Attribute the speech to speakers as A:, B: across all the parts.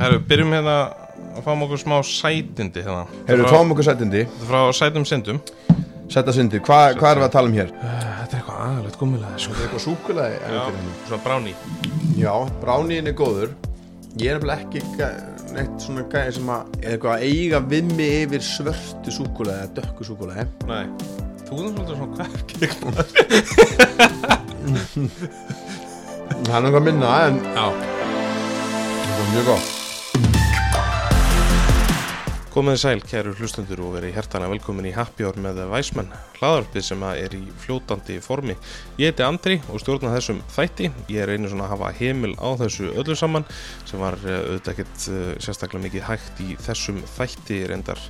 A: Herru, byrjum hérna að fáum okkur smá sætindi hérna
B: Hefur við
A: frá,
B: fáum okkur sætindi
A: frá sætum syndum
B: Sætta syndi, Hva, hvað erum við að tala um hér?
A: Þetta er eitthvað aðalegt gummilega sko.
B: Eitthvað súkulaði
A: Já,
B: hérna.
A: svona bráni
B: Já, brániðin er góður Ég er nefnilega ekki gæ- neitt svona gæði sem að eða eitthvað að eiga vimmi yfir svörtu súkulaði eða dökku súkulaði
A: Nei, þú erum svolítið svona kverkik
B: Það er nokkuð minna en
A: Já,
B: það er mjög gott
A: komið sæl, kæru hlustundur og verið hjertanlega velkomin í Happy Hour með Væsmenn hlaðarpið sem að er í fljótandi formi Ég heiti Andri og stjórna þessum þætti Ég er einu svona að hafa heimil á þessu öllu saman sem var eh, auðvitað ekkert eh, sérstaklega mikið hægt í þessum þætti reyndar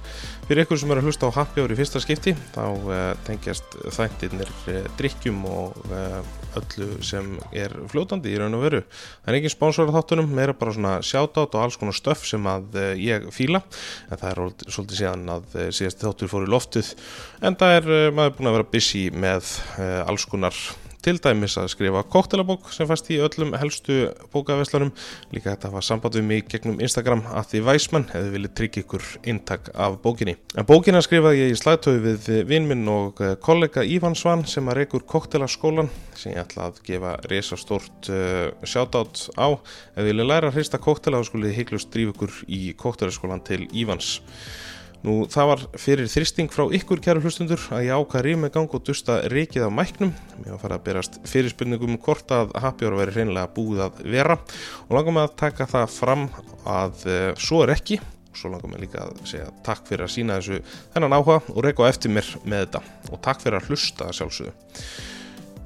A: Fyrir ykkur sem eru að hlusta á Happy Hour í fyrsta skipti þá uh, tengjast þættirnir uh, drikkjum og uh, öllu sem er fljótandi í raun og veru Það er engin sponsor á þáttunum, meira bara svona shoutout og alls konar stöf sem að uh, ég fíla en það er orð- svolítið síðan að uh, síðast þáttur fór í loftið en það er uh, maður er búin að vera busy með uh, alls konar til dæmis að skrifa koktelabók sem fæst í öllum helstu bókaveslanum líka þetta var samband við mig gegnum Instagram að því væsmann hefði viljið tryggja ykkur inntak af bókinni. En bókina skrifaði ég í slættöfi við vinn minn og eh, kollega Ívan Svan sem að reykur koktelaskólan sem ég ætla að gefa resastórt uh, shoutout á ef þið viljið læra að hrista koktela þá skulið heiklust dríf ykkur í koktelaskólan til Ívans. Nú það var fyrir þristing frá ykkur kæru hlustundur að ég ákvað rými gang og dusta rikið af mæknum. Mér var farið að berast fyrirspurningum um hvort að happy hour veri reynilega búið að vera og langar mig að taka það fram að uh, svo er ekki og svo langar mig líka að segja takk fyrir að sína þessu þennan áhuga og reyka á eftir mér með þetta og takk fyrir að hlusta að sjálfsögðu.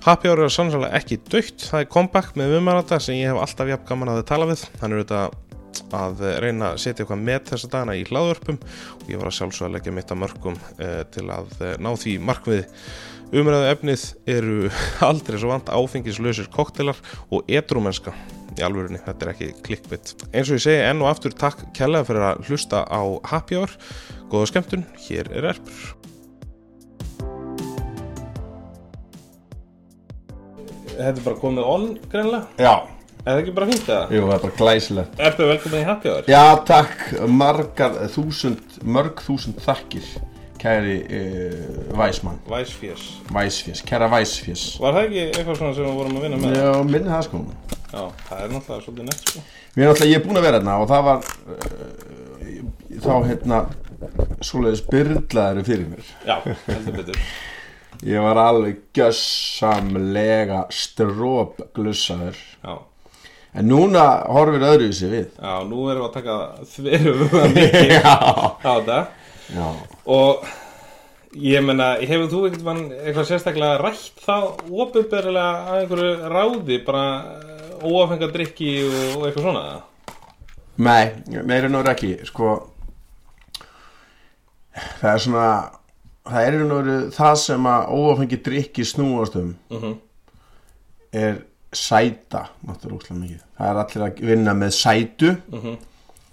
A: Happy Hour er sannsalega ekki dögt, það er comeback með viðmælanda sem ég hef alltaf jafn gaman að þið tala við, hann er auðvitað að eh, reyna að setja eitthvað með þessa dagana í hlaðvörpum og ég var að sjálfsögða að leggja mitt að mörgum uh, til að uh, ná því markmiði umræðu efnið eru aldrei svo vant áfengislausir koktelar og edrúmenska í alvörunni, þetta er ekki klikkbytt eins og ég segi enn og aftur takk kærlega fyrir að hlusta á Happy Hour góða skemmtun, hér er erpur Þetta er bara komið on greinlega
B: Já,
A: Er það ekki bara fínt eða?
B: jú, það er bara glæsilegt
A: Ertu velkomin í Happy Hour?
B: Já, takk, margar þúsund, mörg þúsund þakkir, kæri uh, Væsmann,
A: Væsfjörs
B: Væsfjess, kæra Væsfjess.
A: Var það ekki eitthvað svona sem við vorum að vinna með?
B: Já, minni það sko.
A: Já, það er náttúrulega svolítið nett sko
B: Mér er alltaf, ég er búinn að vera hérna og það var, uh, þá hérna, svoleiðis byrlaðir fyrir mér.
A: Já, heldur betur
B: Ég var alveg gjössamlega strópglussaður.
A: Já,
B: En núna horfir öðru í sig við.
A: já nú erum við að taka þverjum mikið
B: Já,
A: á þetta
B: já.
A: Og ég menna, hefur þú ekkert mann eitthvað sérstaklega rætt þá ofinberilega að einhverju ráði bara óafengar drikki og, og eitthvað svona eða?
B: Nei, meira en orð ekki sko það er svona það er en orð það sem að óafengi drikki snúast um
A: Mhm.
B: er sæta náttúrulega útla mikið það er allir að vinna með sætu
A: Mhm.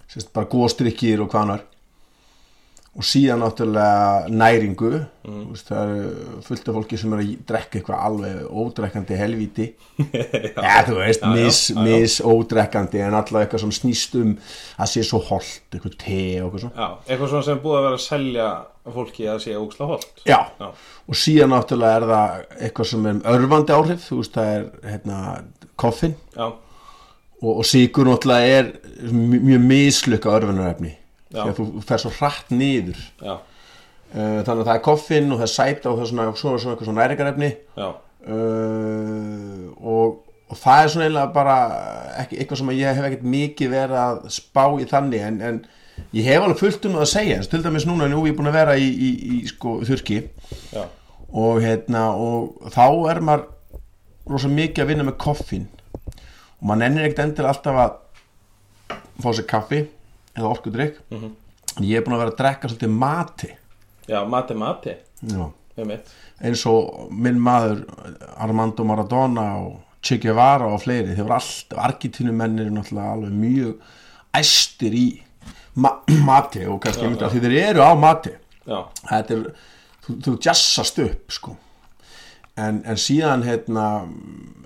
B: sérst bara góstrykkir og hvanar og síðan náttúrulega næringu mm. veist, það eru fullt af fólki sem er að drekka eitthvað alveg ódrekkandi helvíti Já, þú veist, mis, mis ódrekkandi en allavega eitthvað sem snýst um að sé svo holdt, eitthvað te og eitthvað svona.
A: Já, eitthvað svona sem er búið að vera að selja fólki að sé ógsla holt
B: Já.
A: Já.
B: og síðan náttúrulega er það eitthvað sem er um örfandi áhrif, þú veist, það er hérna, koffin
A: Já,
B: og, og sigur náttúrulega er mj- mjög mislukka örfunarefni
A: Já.
B: því að þú fer svo hratt niður.
A: já,
B: Uh, Þannig að það er koffin og það er sæta og það er svona, svona, svona, eitthvað svona næringarefni
A: já
B: uh, og, og það er svona eiginlega bara ekki, eitthvað sem ég hef ekkert mikið verið að spá í þannig en, en ég hef alveg fullt um það að segja eins og til dæmis núna, nú er ég búin að vera í, í, í sko, þurki
A: Já,
B: og, hérna, og þá er maður rosa mikið að vinna með koffin og maður nennir ekkert endur alltaf að fá sér kaffi eða orkudrykk en ég er búin að vera að drekka svolítið mati
A: já, mati mati
B: Já.
A: með mitt
B: eins og minn maður Armando Maradona og Che Guevara og fleiri, þeir voru alltaf argitínumennir náttúrulega alveg mjög æstir í ma mati og kannski einmitt að því þeir eru á mati
A: Já,
B: þetta er, þú, þú jassast upp sko en, en síðan hérna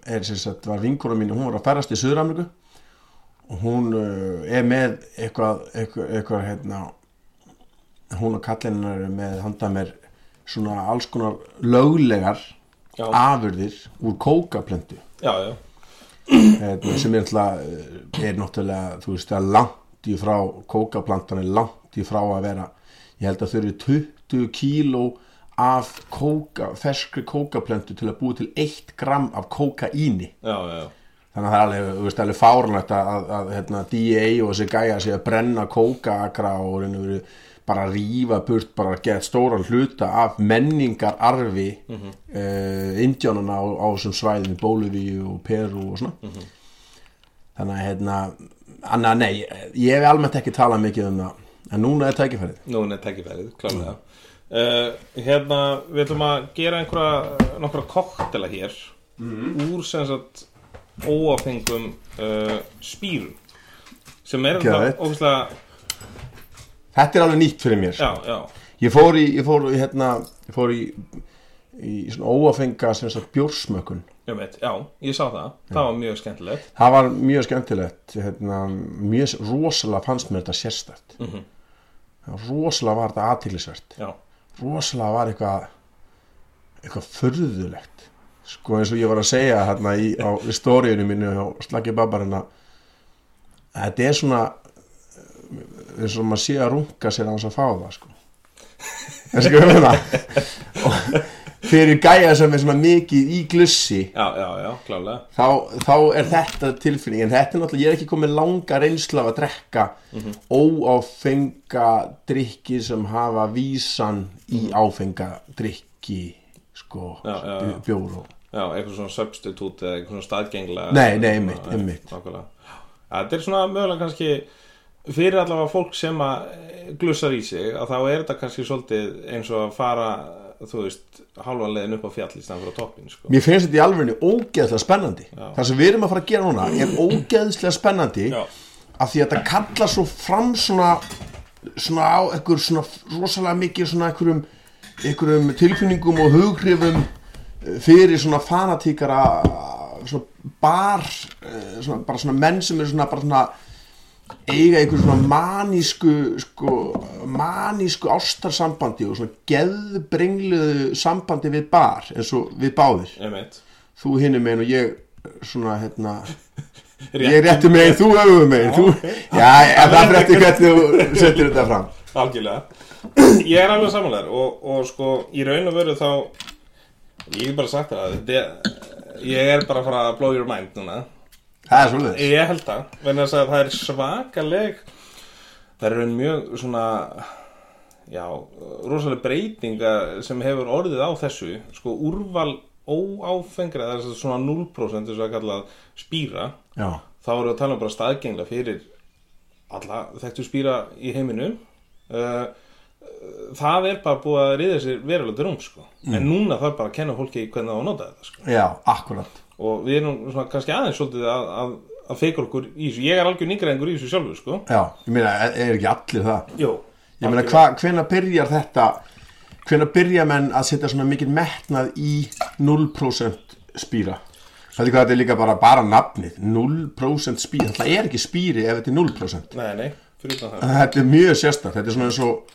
B: er sem sagt var vinkona mín, hún var að ferast í Suður-Ameriku og hún uh, er með eitthvað, eitthvað, eitthvað hérna, hún og kallinn hennar eru með handa mér svona alls konar löglegar
A: Já.
B: afurðir úr kókaplöndu
A: já, já,
B: hérna, sem er náttúrulega, eh, er náttúrulega þú veist, það er langt í frá kókaplantan er langt í frá að vera ég held að þau eru 20 kíló af kóka, ferskri kókaplöntu til að búi til 1 gram af kókaíni
A: já, já, já.
B: þannig að það er alveg, þú veist, alveg fárunlegt að, að, að hérna, DEA og þessi gæja sé að brenna kókaakra og reyna verið bara að rífa burt bara að geta stóran hluta af menningararfi mm -hmm. indjónana á, á þessum svæðum í Bólivíu og Peru og svona þannig að hérna anna, nei, ég hef almennt ekki talað mikið um það en núna er tækifærið
A: Núna er tækifærið, klálega uh, Hérna, við ætlum að gera einhverja nokkra koktela hér úr sem sagt óafengum uh, spýrum sem er
B: Geðveikt.
A: ófislega
B: þetta er alveg nýtt fyrir mér
A: já, já,
B: ég fór í, ég fór, í, hérna, ég fór í, í svona óafenga sem sagt bjórsmökun
A: ég veit, já, ég sá það það var mjög skemmtilegt
B: það var mjög skemmtilegt hérna, mjög rosalega fannst mér þetta sérstætt mm rosalega var þetta aðtýrlisvert
A: já,
B: rosalega var eitthvað eitthvað furðulegt sko eins og ég var að segja hérna í, á í stóriðinu mínu á Slaki Babarinn að þetta er svona eh, eins og maður sé að runga sér á þess að fá það sko en sko við það fyrir gæja sem er svona mikið í glussi
A: já, já, já, klálega
B: þá, þá er þetta tilfinning en þetta er náttúrulega, ég er ekki komið langa reynsla af að drekka
A: Mhm.
B: óáfenga drikki sem hafa vísan í áfenga drikki sko,
A: Mhm. Já, já, já.
B: bjóru
A: já, eitthvað svona substitute eða eitthvað svona staðgengla
B: Nei, nei, einmitt, einmitt.
A: Nákvæmlega. Ja, Þetta er svona mögulega kannski fyrir allavega fólk sem að eh, glussar í sig að þá er þetta kannski svolítið eins og að fara þú veist, halvan leiðin upp á fjall í stæðan fyrir toppin sko.
B: Mér finnst þetta í alvegni ógeðslega spennandi það sem við erum að fara að gera núna er ógeðslega spennandi
A: Já.
B: af því að þetta kallar svo fram svona svona á einhver svona rosalega mikið svona einhverjum, einhverjum tilfinningum og hughrifum eh, fyrir svona fanatíkara svona bar eh, svona, bara svona menn sem eru svona bara svona eiga einhver svona manísku sko, manísku ástarsambandi og svona geðbringluðu sambandi við bar eins og við báðir
A: Einmitt.
B: þú hinum megin og ég svona hérna
A: Rétt.
B: ég rétti megin, þú öfum megin þú, já, en það fyrir eftir hvernig þú setur þetta fram
A: Algjörlega Ég er alveg samanlegar og, og sko í raun og veru þá ég er bara sagt þér að þetta er- ég er bara að fara að blow your mind núna
B: það er svolítið
A: Ég held það, vegna þess að það er svakaleg það eru mjög svona já, rosaleg breytinga sem hefur orðið á þessu sko úrval óáfengra það er svona 0% þess að kallað spýra,
B: já,
A: þá eru að tala um bara staðgengla fyrir alla þekktu spýra í heiminum uh, það er bara búið að riða sér verulega drum sko, en núna þarf bara að kenna fólki hvernig það á að nota þetta sko
B: já, akkurat
A: og við erum svona kannski aðeins svolítið að, að, að feika okkur í þessu ég er algjör nýgræðingur í þessu sjálfur sko
B: já, ég meina, er- er ekki allir það
A: Jó,
B: ég meina, hva, hvena byrjar þetta hvena byrja menn að setja svona mikil metnað í 0% spýra Þetta er hvað þetta er líka bara, bara nafnið, 0% spýra, það er ekki spýri ef þetta er 0%.
A: nei, nei, fyrir utan það
B: þetta er mjög sérstakt þetta er svona eins og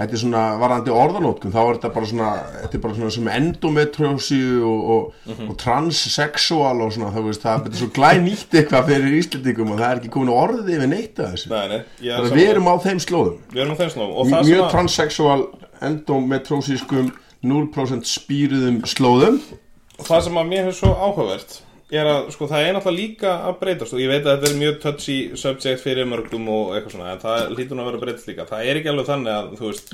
B: þetta er svona varandi orðanótkun þá er þetta bara svona þetta er bara svona sem endometriosi og, og,
A: Mhm.
B: og transsexual og svona þá veist það er svo glænýtt eitthvað fyrir Íslendingum og það er ekki komin orðið yfir neitt að þessu
A: Nei, nei, ég er
B: þannig að
A: sammála.
B: við erum á þeim slóðum
A: við erum á þeim slóðum og það
B: mjög
A: sem að
B: transsexual endometrosiskum 0% spýruðum slóðum
A: það sem að mér er svo áhugavert er að sko það er náttúrulega líka að breytast og ég veit að þetta er mjög touchy subject fyrir mörgum og eitthvað svona en það hlýtur nú að vera að breytast líka það er ekki alveg þannig að þú veist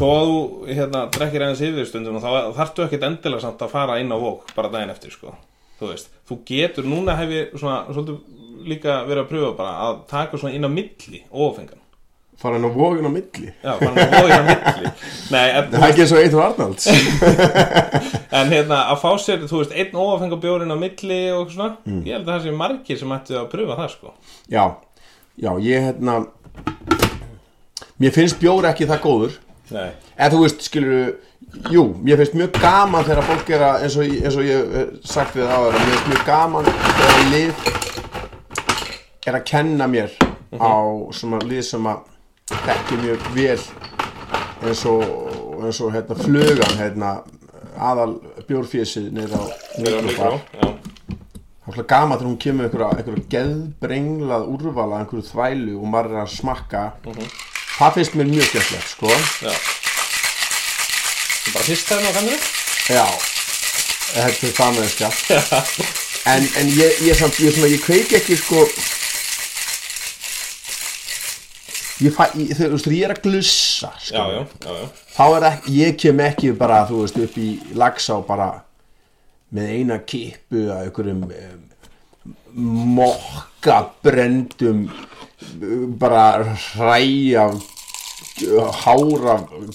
A: þó að þú hérna drekkir aðeins yfir stundum og þá þarftu ekkit endilega samt að fara inn á vók bara daginn eftir sko þú veist, þú getur núna hef ég svona svolítið líka verið að pröfa bara að taka svona inn á milli ófengan
B: fara hann á vógin á milli
A: já, bara að vóka milli nei, en,
B: það er ekki eins og eitt og Arnalds
A: En hérna að fá sér, þú veist, einn óafengar bjórinn á milli og eitthvað svona
B: Mm.
A: Ég held að það sé margir sem ættu að pröfa það sko
B: já, já ég hérna mér finnst bjór ekki það góður
A: Nei,
B: eða þú veist, skilur jú, mér finnst mjög gaman þegar fólk er að eins og, eh, eins og ég hef sagt við það áður, mér finnst mjög gaman þegar lið er að kenna mér á svona lið sem að þekki mjög vel eins og, eins og hérna, flugan hérna, aðal bjórfésið niður á
A: Þeir eru
B: Mikróbar.
A: mikró, já.
B: Það er gaman þegar hún kemur með einhverja, einhverja geðbrenglað úrvala, einhverju þvælu og maður er að smakka. Það finnst mér mjög gætlegt, sko.
A: Já Bara fyrst hérna, þarna á kameru
B: Já, þetta er það með þetta. En, en ég, ég, samt, ég, svona, ég kveiki ekki, sko, ég, fæ, ég, þú veist, ég er að glussa, sko.
A: Já, já, já, já
B: Þá er ekki, ég kem ekki bara, þú veist, upp í lagsa og bara með eina kippu að einhverjum um, mokka brendum eh, bara hræja eh, hára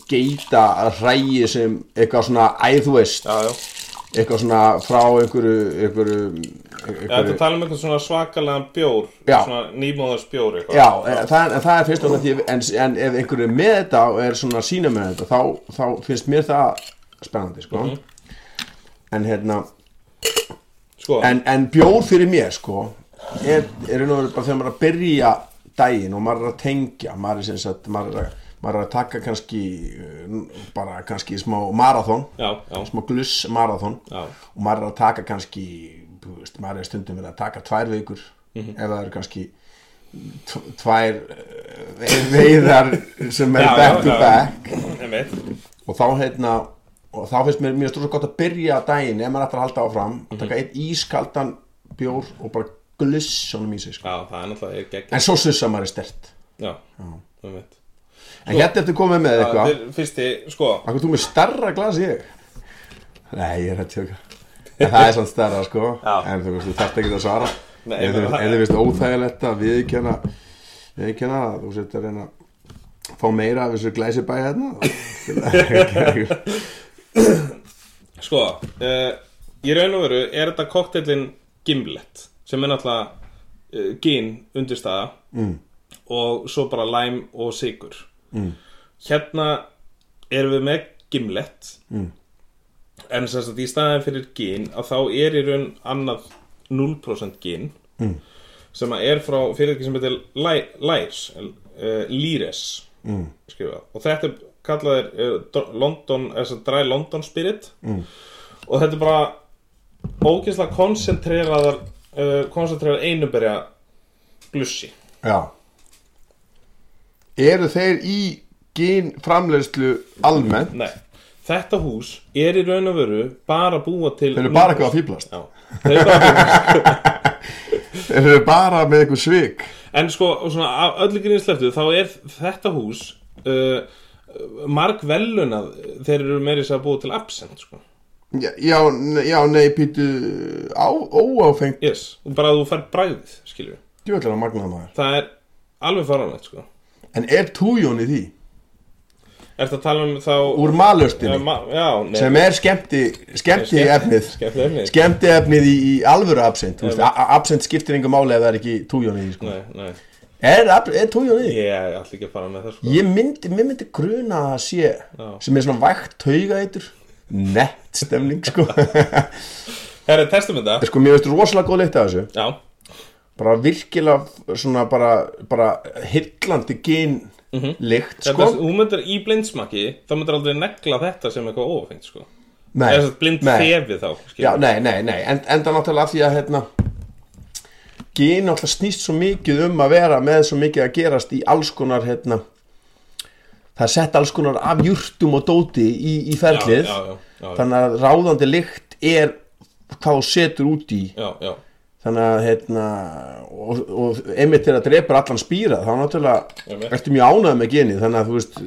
B: geita hræji sem eitthvað svona æðvist,
A: Já, já
B: eitthvað svona frá einhverju, einhverju,
A: Já, þetta
B: einhverju
A: tala um einhvern svona svakalega bjór
B: Já.
A: Svona nýmóðars bjór eitthvað
B: Já, e, það, en það er fyrst og nætti en, en ef einhverju er með þetta og er svona að sína með þetta þá, þá finnst mér það spennandi sko. en hérna
A: Sko,
B: en, en bjór fyrir mér sko er, er einu verið bara þegar maður er að byrja daginn og maður er að tengja maður er, sem sagt, maður er, að, maður er að taka kannski eh, bara kannski smá marathon
A: já, já,
B: smá gluss marathon
A: Já.
B: og maður er að taka kannski þú veist, maður er stundum verið að taka tvær vikur
A: Mhm.
B: ef það eru kannski tv- tvær eh, veiðar sem er
A: Já, já,
B: back to
A: já.
B: back
A: einmitt
B: og þá hérna og þá finnst mér mjög stóð svo gott að byrja daginn ef maður ætlar að halda áfram
A: Mhm.
B: og taka eitt ískaldan bjór og bara gluss honum í sig sko.
A: Já, það er náttúrulega er gegn
B: en svo sussa maður er stert
A: Já, einmitt
B: en hérna ertu komið með
A: Það
B: eitthvað
A: er fyrsti, sko
B: Akkur þú með starra glas ég? Nei, ég er að tjóka En Það er svona starra sko
A: Já.
B: En þú veist, þú þarft ekki að svara
A: Nei,
B: En þú
A: ég meina-
B: en þú veist óþægilegt að viðkjanna Viðkjanna að þú setjar reyna að Fá meira af þessu glæsibæ hérna Já,
A: Sko, uh, í raun og veru er þetta kokteilin Gimlet sem er náttúrulega uh, gin undirstaða mm. og svo bara læm og sigur mm. Hérna erum við með Gimlet mm. en sem sagt í staðin fyrir gin að þá er í raun annað 0% gin mm. sem að er frá fyrirtæki sem heitir Ly- Lyres uh, Lyres mm. og þetta er kallað er eh, Dr- London, þess að dry London Spirit mm. og þetta er bara ógeðslega koncentreraðar uh, koncentreraðar einuberja glussi
B: Eru þeir í gín framleiðslu almennt?
A: Nei, þetta hús er í raun og veru bara að búa til
B: Þeir eru bara eitthvað að fýblast
A: Já, þeir eru bara að fíblast
B: Þeir eru bara með eitthvað svik
A: En sko, og svona, af öllu grínisleftu þá er þetta hús uh, marg velunað þeir eru meiri sér að búa til absent sko.
B: Já, já, ne- já nei, pítu á, Óáfengt
A: yes, og bara að þú fær bræðið skilur við,
B: Djöðlega magnaða maður
A: það er alveg faranlegt sko.
B: En er tújón í því?
A: Er að tala um þá
B: Úr malurtinni
A: Eh, ma Já, nei,
B: sem er skemmti, skemmti efnið
A: Skemmti efnið
B: skemmti efnið í, í alvöru absent Þú veist, a- a- absent skiptir engum máli ef það er ekki tújón í því sko.
A: Nei, nei,
B: er, ab- er tújón í því?
A: ég er allir ekki að fara með það sko.
B: ég myndi, mér myndi gruna að það sé sem er svona vægt taugaitur nett stemning sko sko
A: Herri, testum þetta
B: mér veist rosalega góð leitt af þessu
A: Já,
B: bara virkilega svona bara, bara
A: Mhm.
B: hillandi gín lykt
A: sko?
B: sko
A: þú myndir í blindsmakki þá myndir aldrei negla þetta sem eitthvað ofengt sko.
B: nei,
A: Eða þess að blind
B: nei.
A: þefið þá skilur
B: Já,
A: við.
B: nei, nei, nei, en, enda náttúrulega af því að hérna Gín náttúrulega snýst svo mikið um að vera með svo mikið að gerast í alls konar hérna Það er sett alls konar af jurtum og dóti í, í ferlið
A: Já, já, já, já, já.
B: Þannig að ráðandi lykt er hvað þú setur út í
A: já, já,
B: Þannig að hérna og, og einmitt þegar að drepur allan spýra þá náttúrulega
A: Einmitt.
B: ertu mjög ánægð með genið þannig að þú veist,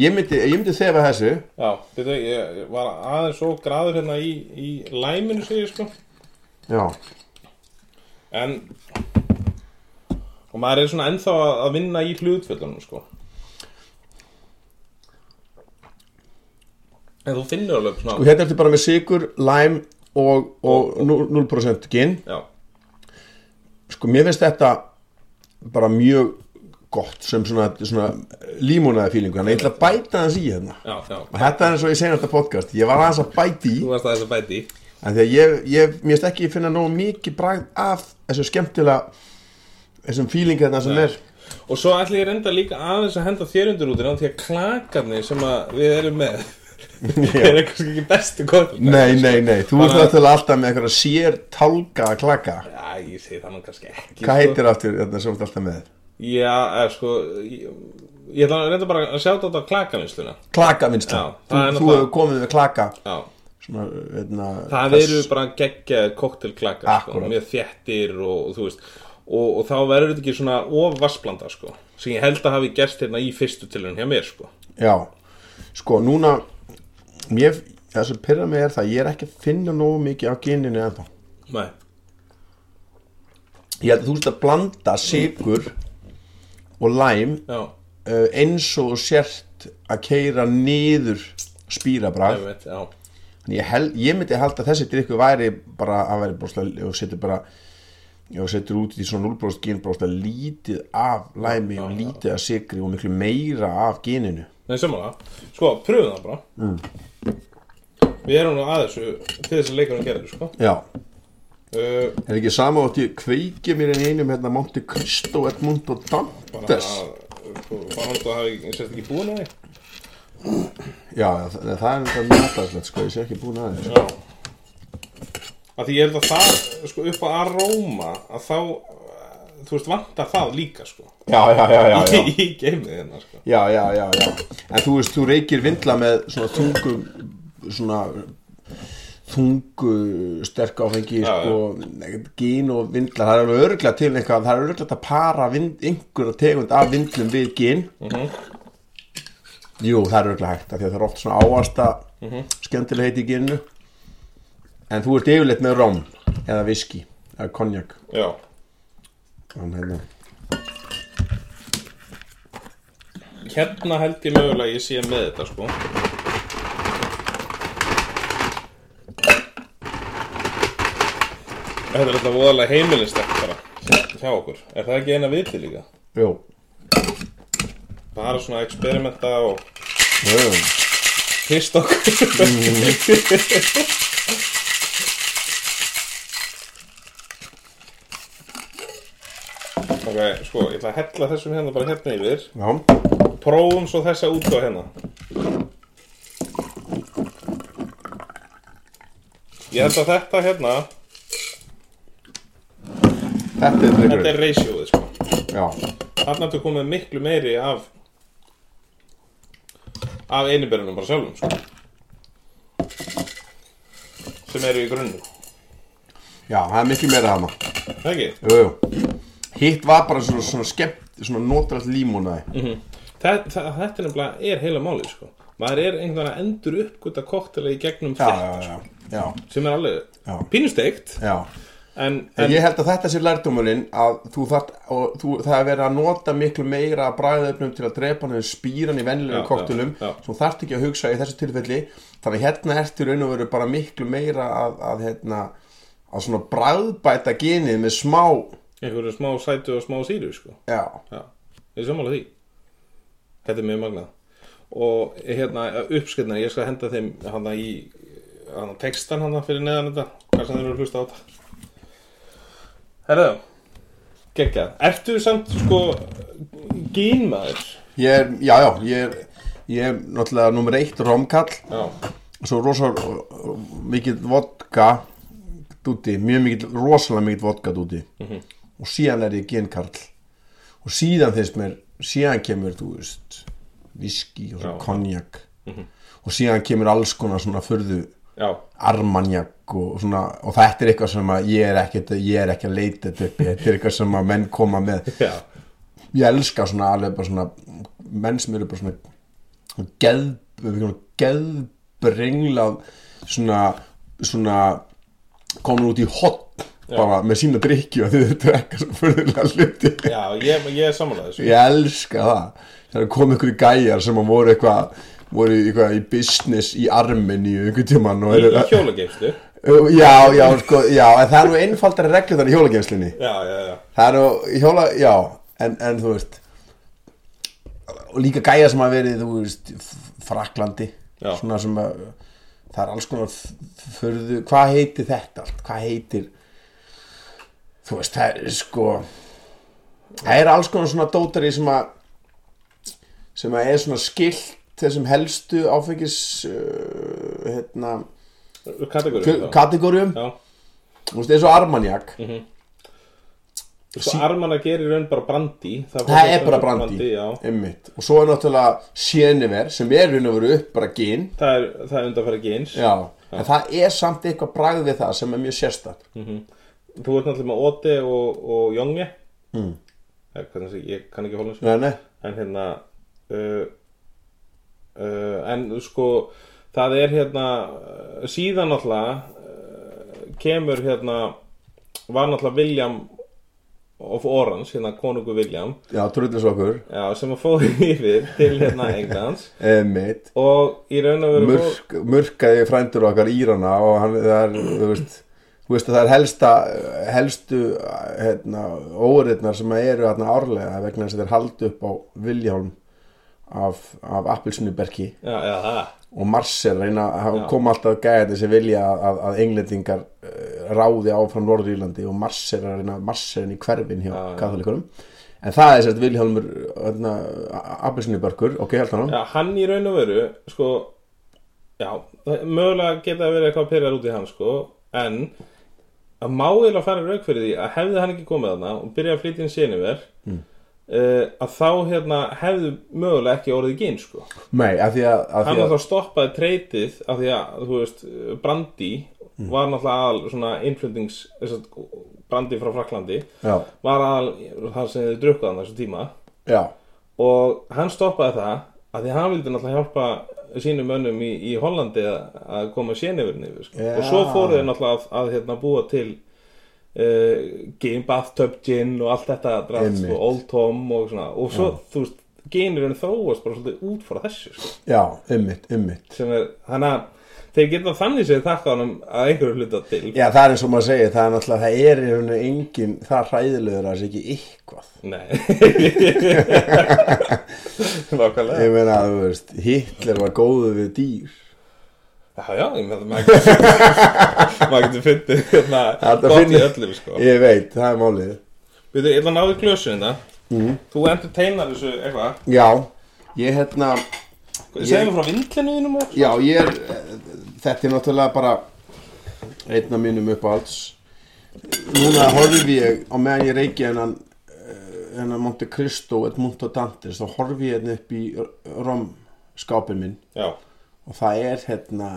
B: ég myndi, ég myndi þefa þessu
A: já byrju, ég ég var aðeins svo graður hérna í, í læminu segir sko
B: Já,
A: En Og maður er svona ennþá að að vinna í hlutfjöldunum sko En þú finnur alveg svona
B: og hérna ertu bara með sigur, lime og, og 0% gin
A: Já,
B: sko mér finnst þetta bara mjög gott sem svona, svona límónaði fílingu þannig að ég ætla að bæta hans í hérna
A: já, já
B: og þetta er eins og ég segir þetta podcast ég var aðeins að bæta í
A: Þú varst aðeins að bæti í
B: en því að ég, ég mér finnst ekki finna nógu mikið bragð af þessu skemmtilega þessum fílinga þarna sem er
A: Og svo ætla ég reynda líka aðeins að henda þér undir út Því að klakarnir sem að við erum með
B: Já.
A: Er kannski ekki bestu góð
B: Nei, nei, nei, þú
A: Þannig
B: ert
A: að-
B: náttúrulega alltaf með eitthvað sér tálka að klaka
A: Já, ég segi það nú kannski ekki
B: Hvað
A: sko.
B: heitir aftur þetta sem þú ert alltaf með?
A: Já, eða, sko Ég, ég ætla að reynda bara að sjá þetta á klakavinsluna
B: Klaka minnst
A: Já,
B: Þú,
A: það er
B: þú
A: náttúrulega-
B: hefur komið með klaka
A: Já,
B: Svona, hérna, veitna,
A: það eru bara geggjaðir koktelklakar sko,
B: Akkúrat.
A: mjög þéttir og, og þú veist og, og þá verður þetta ekki svona of vassblanda sko, sem ég held að hafi gerst hérna í fyrstu tilhörn hjá mér sko
B: Já, sko, núna mér, það sem pyrra mig er það að ég er ekki að finna nógu mikið á geninu ennþá
A: Nei,
B: Ég held að þú ert að blanda sigur og læm
A: já,
B: uh, eins og þú sért að keira niður spýrabrag
A: ég veit, já
B: En ég, held, ég myndi halda að þessi drikku væri bara að væri broslega og setur bara og setur út í svona 0% gin broslega lítið af læmi og lítið af sigri og miklu meira af geninu
A: Nei, samanlega, sko, pröfum það bara Við erum nú að þessu til þess að leikurinn gerir sko
B: já,
A: uh,
B: er ekki sama átt ég kveiki mér en einum hérna Monte Cristo, Edmund og
A: bara
B: Dantes
A: að Fannst að hafi sérst ekki búin að því
B: já, það, það er þetta mjög aðlæslegt sko, ég sé ekki búin aðeins
A: Já Af því ég held að það, sko, upp á aróma að þá, uh, þú veist, vantar það líka, sko
B: já, já, já, já, já.
A: í geimið hérna sko.
B: já, já, já, já en þú veist, þú reykir vindla með svona þungu svona þungu sterk áfengi
A: Já, já.
B: sko, gín og vindla það er alveg örgla til eitthvað, það er örgla að para vind, einhverja tegund af vindlum við gín
A: Mhm.
B: jú, það er örgla hægt af því að það er oft svona áasta
A: Mhm.
B: skemmtileg heiti í gínu en þú ert yfirleitt með róm eða viski, eða konjak
A: Já,
B: Þannig, hérna.
A: hérna held ég mögulega að ég sé með þetta sko Þetta er alltaf voðalega heimilistegt bara hjá okkur Er það ekki eina viti líka?
B: jú,
A: Bara svona experimenta og
B: jú
A: hrist okkur Ok, sko, ég ætla að hella þessum hérna bara hérna yfir
B: já,
A: Prófum svo þessa út á hérna Ég held að þetta hérna
B: þetta er
A: Þetta
B: drikkurinn
A: er ratioið sko
B: já,
A: Þarna ertu komið miklu meiri af Af einibyrjunum bara sjálfum sko Sem eru í grunnu
B: já, það er miklu meira hana
A: Ekki?
B: Jú, jú. Hitt var bara svona, svona skemmt, svona notrætt límónaði.
A: Mm. Þetta, þetta er nefnilega er heila málið sko Maður er einhvern veginn að endur uppgöta koktela í gegnum
B: Já,
A: þetta
B: já, já, já,
A: Sem er alveg
B: Já.
A: pínusteikt
B: já.
A: En,
B: En
A: en
B: ég held að þetta sé lærdómurinn að þú þart, og þú, það er verið að nota miklu meira að bræðöfnum til að drepa hann eða spýran í vennilegum
A: Já,
B: koktelum
A: já, já.
B: svo þarft ekki að hugsa í þessu tilfelli þannig að hérna ertu í raun og veru bara miklu meira að, að hérna að svona bræðbæta genið með smá
A: einhverju smá sætu og smá síru sko
B: já,
A: Já, ég er sammála því Þetta er mjög magnað Og hérna, uppskriðna, ég skal henda þeim hana í hana textan hana fyrir neðan þetta Hvað sem þeir eru að hlusta á þetta Herðu, geggjað Ertu samt, sko, gínmaður?
B: ég er, já, já ég er, ég er náttúrulega nummer eitt romkall
A: Já,
B: svo rosa mikið vodka dúti, mjög mikið, rosalega mikið vodka dúti og síðan er ég genkarl og síðan þeirst mér, síðan kemur þú veist, viski og svo
A: Já.
B: konjak og síðan kemur alls konar svona förðu
A: já,
B: armanjak og svona og þetta er eitthvað sem að ég er ekkert ég er ekki að leita þetta upp, þetta er eitthvað sem að menn koma með
A: já
B: ég elska svona alveg bara svona menn sem eru bara svona geð, geðbrenglað svona, svona komin út í hot bara með sína drikki og þau þetta ekki svo förðulega hluti
A: Já, ég, ég er sammála þessu
B: ég elska það þegar kom ykkur gæjar sem að voru eitthvað voru í eitthvað í business í armin í einhvern tímann og
A: Í,
B: eru
A: í hjólageimstu
B: já, já, sko, já, en það er nú einfaldari reglur þar í hjólageimslinni
A: Já, já, já
B: Það er nú hjóla, já, en, en þú veist og líka gæja sem að verið, þú veist, F- Fraklandi
A: Já.
B: svona sem að það er alls konar f- furðu, hvað heitir þetta allt, hvað heitir þú veist, það er sko það er alls konar svona dótari sem að sem að er svona skilt þessum helstu áfengis uh, hérna,
A: kategóri
B: kategórium
A: Já,
B: þú veist, eins og armanjak
A: sko armanna gerir raun bara brandi Það,
B: það er bara brandi,
A: já
B: einmitt og svo er náttúrulega séniver sem er raun og veru bara gín
A: Það er, það er undanfæra geins
B: já, en það er samt eitthvað bragð við það sem er mjög sérstætt
A: Mhm. Þú ert náttúrulega með Ote og, og Jónge mm. Ég kann ekki hóla
B: nei, nei,
A: en hérna uh, uh, en sko það er hérna uh, síðan náttúrulega uh, kemur hérna var náttúrulega William of Orange, hérna konungu William
B: já, trullisokkur
A: já, sem að fór yfir til hérna Englands
B: einmitt
A: og í raun og veru fór-
B: mörk, mörkaði frændur okkar Írana og hann, það er, þú veist þú veist að það er helsta helstu hérna, óriðnar sem eru hérna árlega vegna þess að þeir haldi upp á Viljálm af, af Appelsinuberki
A: já, já, það
B: og Marcel reyna að
A: Já.
B: koma alltaf að gæða þessi vilja að, að englendingar eh, ráði áfram Norður-Írlandi og Marcel er að reyna Marcel í hverfin hjá
A: Já, já.
B: katholikunum en það er sérst Viljálmur hérna, Appelsinuberkur, ok, held hann á
A: já, hann í raun og veru sko já, það- mögulega geta verið eitthvað pyrrar út í hann sko en að má eða fara rauk fyrir því að hefði hann ekki komið þarna og byrja að flytja inn séniver mm. að þá hérna hefði mögulega ekki orðið ginn sko
B: nei, af því að, af
A: hann
B: því að
A: náttúrulega stoppaði treytið af því að þú veist Brandi
B: Mm.
A: var náttúrulega aðal svona innflutnings þess að Brandi frá Fraklandi
B: já,
A: var aðal það sem þið drukkaðan þessu tíma
B: já
A: og hann stoppaði það af því að hann vildi náttúrulega hjálpa sínum mönnum í, í Hollandi að, að koma sénifurinn yfir sko.
B: Já.
A: og svo fóru þeir náttúrulega að, að hérna, búa til uh, gin, bathtub gin og allt þetta drast,
B: Einmitt.
A: sko, old tom og svona og svo þú veist, ginurinn þróast bara svolítið út frá þessu sko,
B: Já, ummitt, ummitt
A: sem er, hann að þeir geta þannig séð þakka honum að einhverju hluta til
B: Já, það er eins og maður segir, það er náttúrulega, það er í rauninu engin, það hræðilegur að það sé ekki eitthvað
A: Nei Nákvæmlega
B: Ég meina, þú veist, Hitler var góður við dýr
A: Já, já, ég með það maður getur maður getur fyndið hérna
B: Þetta
A: gott í
B: finnur-
A: öllum sko
B: Ég veit, það er málið
A: Við þau, ég ætla að náðu glösun þetta hérna.
B: Mm.
A: Þú entertainar þessu eitthvað
B: Já, ég hérna, Ég-
A: Segðu mér frá vindlinu þínum og
B: já, ég er, þetta er náttúrulega bara einn af mínum uppáhalds Núna horfi ég, á meðan ég reiki hennan, eh, hennan Monte Cristo, et Monte Dantes, þá horfi ég hérna upp í rom skápin minn
A: Já,
B: og það er hérna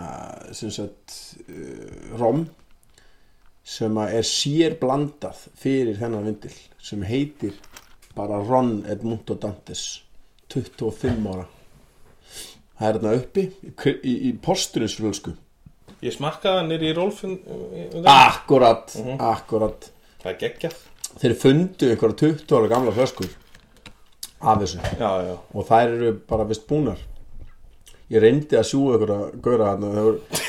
B: sem sagt uh, rom sem að er sér blandað fyrir þennan vindil sem heitir bara Ron Edmundo Dantes 25 ára það er hérna uppi í, kri- í, í posturinsfrölsku
A: ég smakkaði hann nýri í Rolfin um,
B: Ah. akkurat, akkurat
A: Það er geggjað
B: þeir fundu einhverja 20 ára gamla flöskur af þessu
A: Já, já
B: og þær eru bara vist búnar ég reyndi að sjúa ykkur að góra þarna það voru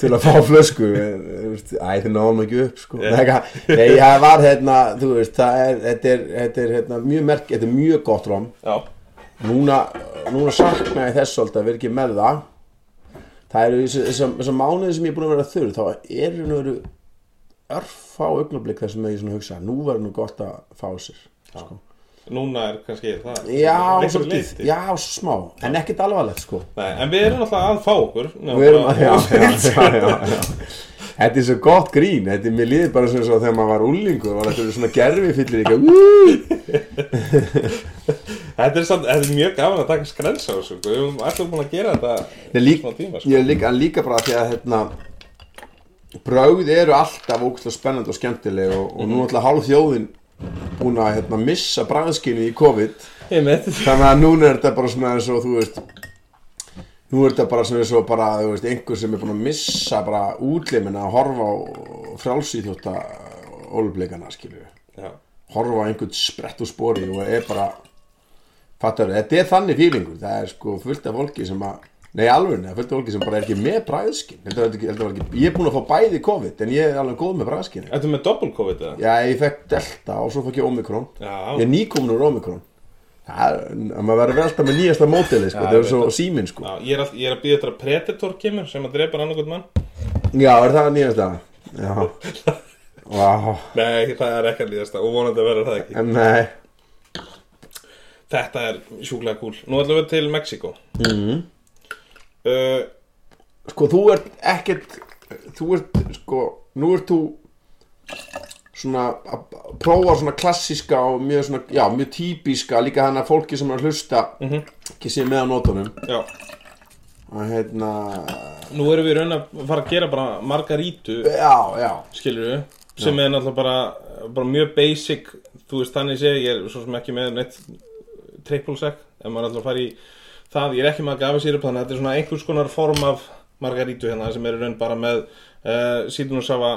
B: til að fá flösku en, þú veist, æ þið náðum ekki upp sko yeah. nei, nei, það var hérna þú veist, það er, þetta er, þetta er hérna, mjög merk, þetta er mjög gott rám
A: Já,
B: núna, núna sakna ég þess svolítið að vera ekki með það það eru þessi- þessar þessa mánuði sem ég er búin að vera þurr þá er hérna veru örfá augnablík þessum að ég svona hugsa nú var nú gott að fá sér sko.
A: núna er kannski það
B: já,
A: Einhverju
B: svolítið,
A: leyti.
B: já, smá en ekkert alvarlegt sko
A: Nei, En við erum alltaf að fá okkur
B: Við erum að, já, já, já, já, já. Þetta er svo gott grín, þetta er mér liðið bara sem svo þegar maður var úlingur og þetta eru svona gerfi fyllir ykkur.
A: Þetta er, samt, þetta er mjög gaman að taka skrens á þessu sko. Við erum alltaf búin að gera þetta
B: Ég lík,
A: Smá tíma, sko.
B: ég líka, líka bara því að hérna, brögð eru alltaf ógæslega spennandi og skemmtileg og, og
A: Mhm.
B: nú er alltaf hálf þjóðin búin að hérna, missa bræðskinni í COVID
A: Ég með
B: þannig að núna er þetta bara svona eins og þú veist nú er þetta bara svona eins og bara þú veist, einhver sem er búin að missa bara útlimina að horfa á frjálsýþjóta ólubleikana skilju
A: Já
B: horfa á einhvern sprett úr spori og er bara fattar þetta er þannig fílingur það er sko fullt af fólki sem að nei alveg neða fullt af fólki sem bara er ekki með bræðskin heldur, heldur, heldur, heldur, ég er búin að fá bæði COVID en ég er alveg góð með bræðskin
A: Þetta er með doppel COVID eða?
B: já ég fekk delta og svo fekk ég omikron
A: Já,
B: Ég er nýkomin úr Omikron Það er, að maður verður alltaf með nýjasta mótili sko,
A: Já,
B: það
A: ég
B: er svo síminn sko
A: Já, ég, er all, ég er að býða þetta að Predator kemur sem að drepa annarkot mann
B: Já, er það nýjasta? Já Vá,
A: Nei, það er ekki að líðast það og vonandi að vera það ekki
B: en nei
A: Þetta er sjúklega kúl Nú ætlum við til Mexiko mm -hmm.
B: sko þú ert ekkert þú ert sko nú ert þú svona að prófa svona klassíska og mjög svona, já, mjög típiska líka þannig að fólki sem er að hlusta ekki sé með á nótunum
A: Já,
B: og hérna,
A: nú erum við í raun að fara að gera bara margarítu,
B: já, já
A: skilur við, sem er náttúrulega bara, bara mjög basic, þú veist þannig sé, ég er svo sem ekki með neitt triple sec, en maður er alltaf að fara í það, ég er ekki með að gafa sér upp, þannig að þetta er svona einhvers konar form af margarítu hérna, sem er í raun bara með uh, síðunusafa,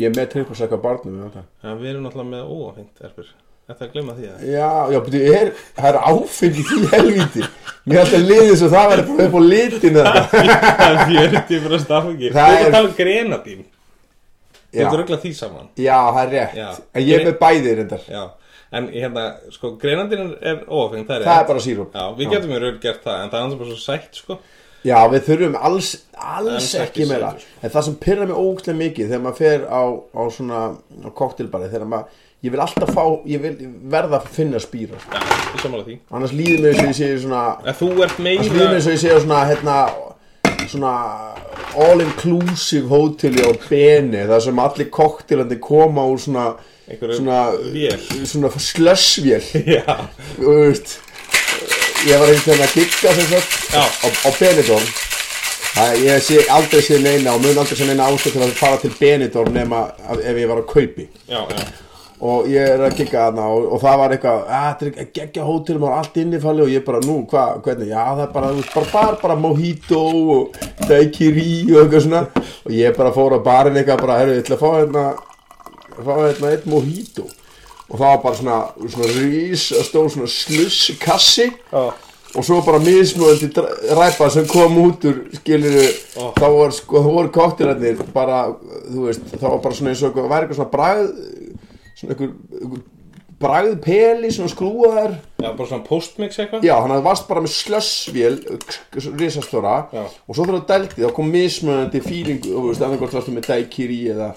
B: ég er með trippulsæk á barnum já,
A: ja, við erum náttúrulega með óafengt, erfur, þetta er að glemma því að
B: já, beti, er, það er áfengi því helvíti mér er alltaf liðið svo það verður bara upp á litin þetta
A: Það er 40 frá stafangi, þú
B: Það
A: ert
B: er-
A: að tala um grenadín,
B: já,
A: þetta er auðvitað því saman.
B: já, það er rétt
A: Já.
B: en ég er með bæði reyndar
A: Já, en hérna, sko, greinandinn er óafengt, það er
B: það
A: rétt.
B: er bara sírup
A: Já, við getum í raun gert það, en það er annars bara svo sætt, sko
B: Já, við þurfum alls, alls
A: Alls ekki
B: ekki meira
A: sætur,
B: En það sem pyrra mig ógæslega mikið Þegar maður fer á, á svona á koktelbari Þegar maður, ég vil alltaf fá Ég vil verða að finna spýra
A: Já, ég samanlega því
B: Annars líður mér eins og ég sé svona
A: En þú ert meira
B: Annars líður mér eins og ég sé á svona hérna, Svona all inclusive hóteli á Beni Það sem allir koktelandi koma úr svona
A: Einhverju
B: Svona,
A: vél.
B: svona slössvél
A: Já,
B: Þú veist Ég var einhvern veginn að gigga sem sagt
A: Já.
B: á, á Benidorm Það, ég sé aldrei sé neina og mun aldrei sé neina ástöð til að fara til Benidorm nema að, ef ég var á kaupi
A: já, já,
B: og ég er að gigga þarna og, og það var eitthvað, að þetta er ekki geggja hótel maður er allt innifalli og ég bara, nú, hvað, hvernig já, það er bara, þú veist, bara bar, bara mojito og daiquiri og eitthvað svona og ég bara fór á barinn eitthvað bara, herru, ég ætla að fá hérna fá hérna eitt mojito og það var bara svona, svona rís stóð svona slusskassi
A: já,
B: og svo bara mismöðandi ræpa sem kom út úr skiluru,
A: Ó.
B: þá voru sko, þá voru koktelarnir bara, þú veist, þá var bara svona eins og eitthvað, væri eitthvað svona bragð svona einhver, einhver bragð peli, svona skrúaðar
A: já, bara svona postmix eitthvað
B: já, þannig að það varst bara með slössvél risastóra,
A: Já.
B: og svo þurfa að delti þá kom mismöðandi feeling, þú veist, annað hvort varstu með dækir í eða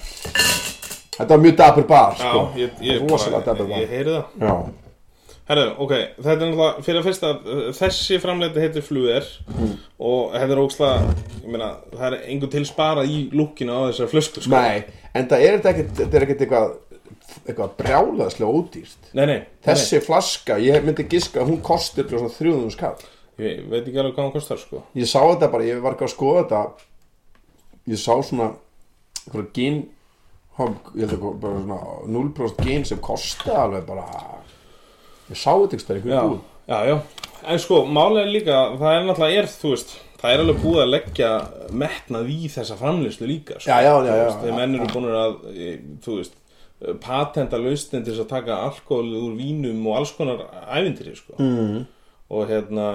B: þetta var mjög dapur bar,
A: Já,
B: sko
A: ég, ég,
B: rosalega
A: bara- ég
B: dapur bar
A: heyri það
B: já,
A: Herðu, ok, þetta er náttúrulega, fyrir að fyrsta, uh, þessi framleiti heitir Fluer
B: Mm.
A: og þetta er óksla, ég meina, það er engu til sparað í lúkinu á þessar flösku, sko
B: nei, en það er þetta ekkert, þetta er ekkert eitthvað eitthvað brjálaðslega ódýrt
A: Nei, nei, nei,
B: Þessi flaska, ég myndi giska að hún kosti upp svona 300 skall.
A: nei, ég veit ekki alveg hvað hann kostar, sko
B: Ég sá þetta bara, ég var ekki að skoða þetta. Ég sá svona einhverja gin, hog- ég held að bara svona 0% gin sem kosti alveg bara, ég sá þetta ekki stærri,
A: já,
B: einhverju búð.
A: já, já En sko, málega líka, það er náttúrulega er, þú veist Það er alveg búið að leggja metnað í þessa framleyslu líka sko.
B: Já, já, já,
A: Þú
B: já,
A: veist, Þeir
B: já,
A: menn eru búin að, e, þú veist patenta lausnin til þess að taka alkohol úr vínum og alls konar ævindri, sko mm. Og hérna,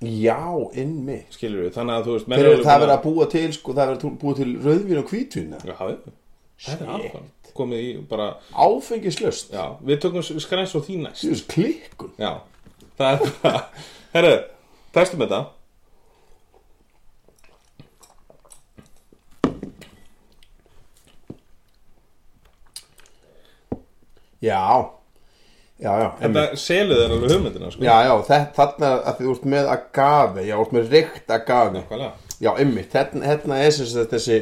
B: Já, innmi.
A: skilur við, þannig að þú veist menn
B: Það
A: eru alveg
B: er
A: búin
B: verið að búa til, sko, það er verið að búa til rauðvín og hvítvín. eða?
A: Já, já, þetta er alkohol Komið í bara,
B: Áfengislaust.
A: já, við tökum skræns og því næst
B: Þú veist, klikkun.
A: Já, það er bara Herru, testum þetta
B: Já, já, já. einmitt.
A: Þetta seluð er alveg hugmyndina sko.
B: Já, já, þetta, þarna að því þú ert með agave, já, þú ert með reykt agave.
A: Nákvæmlega.
B: Já, ymmið, hérna, hérna er sem sagt þessi,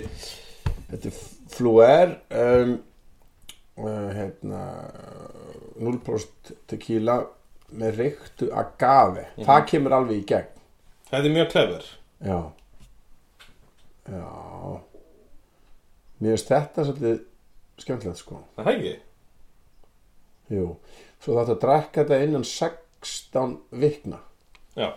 B: þetta er flúer, um, uh, hérna, 0% tequila með reyktu agave. Það kemur alveg í gegn.
A: Þetta er mjög klefur
B: Já. Já. Mér finnst þetta svolítið skemmtilegt, sko.
A: Það er ekki
B: Jú. Svo þetta að drekka þetta innan 16 vikna.
A: Já,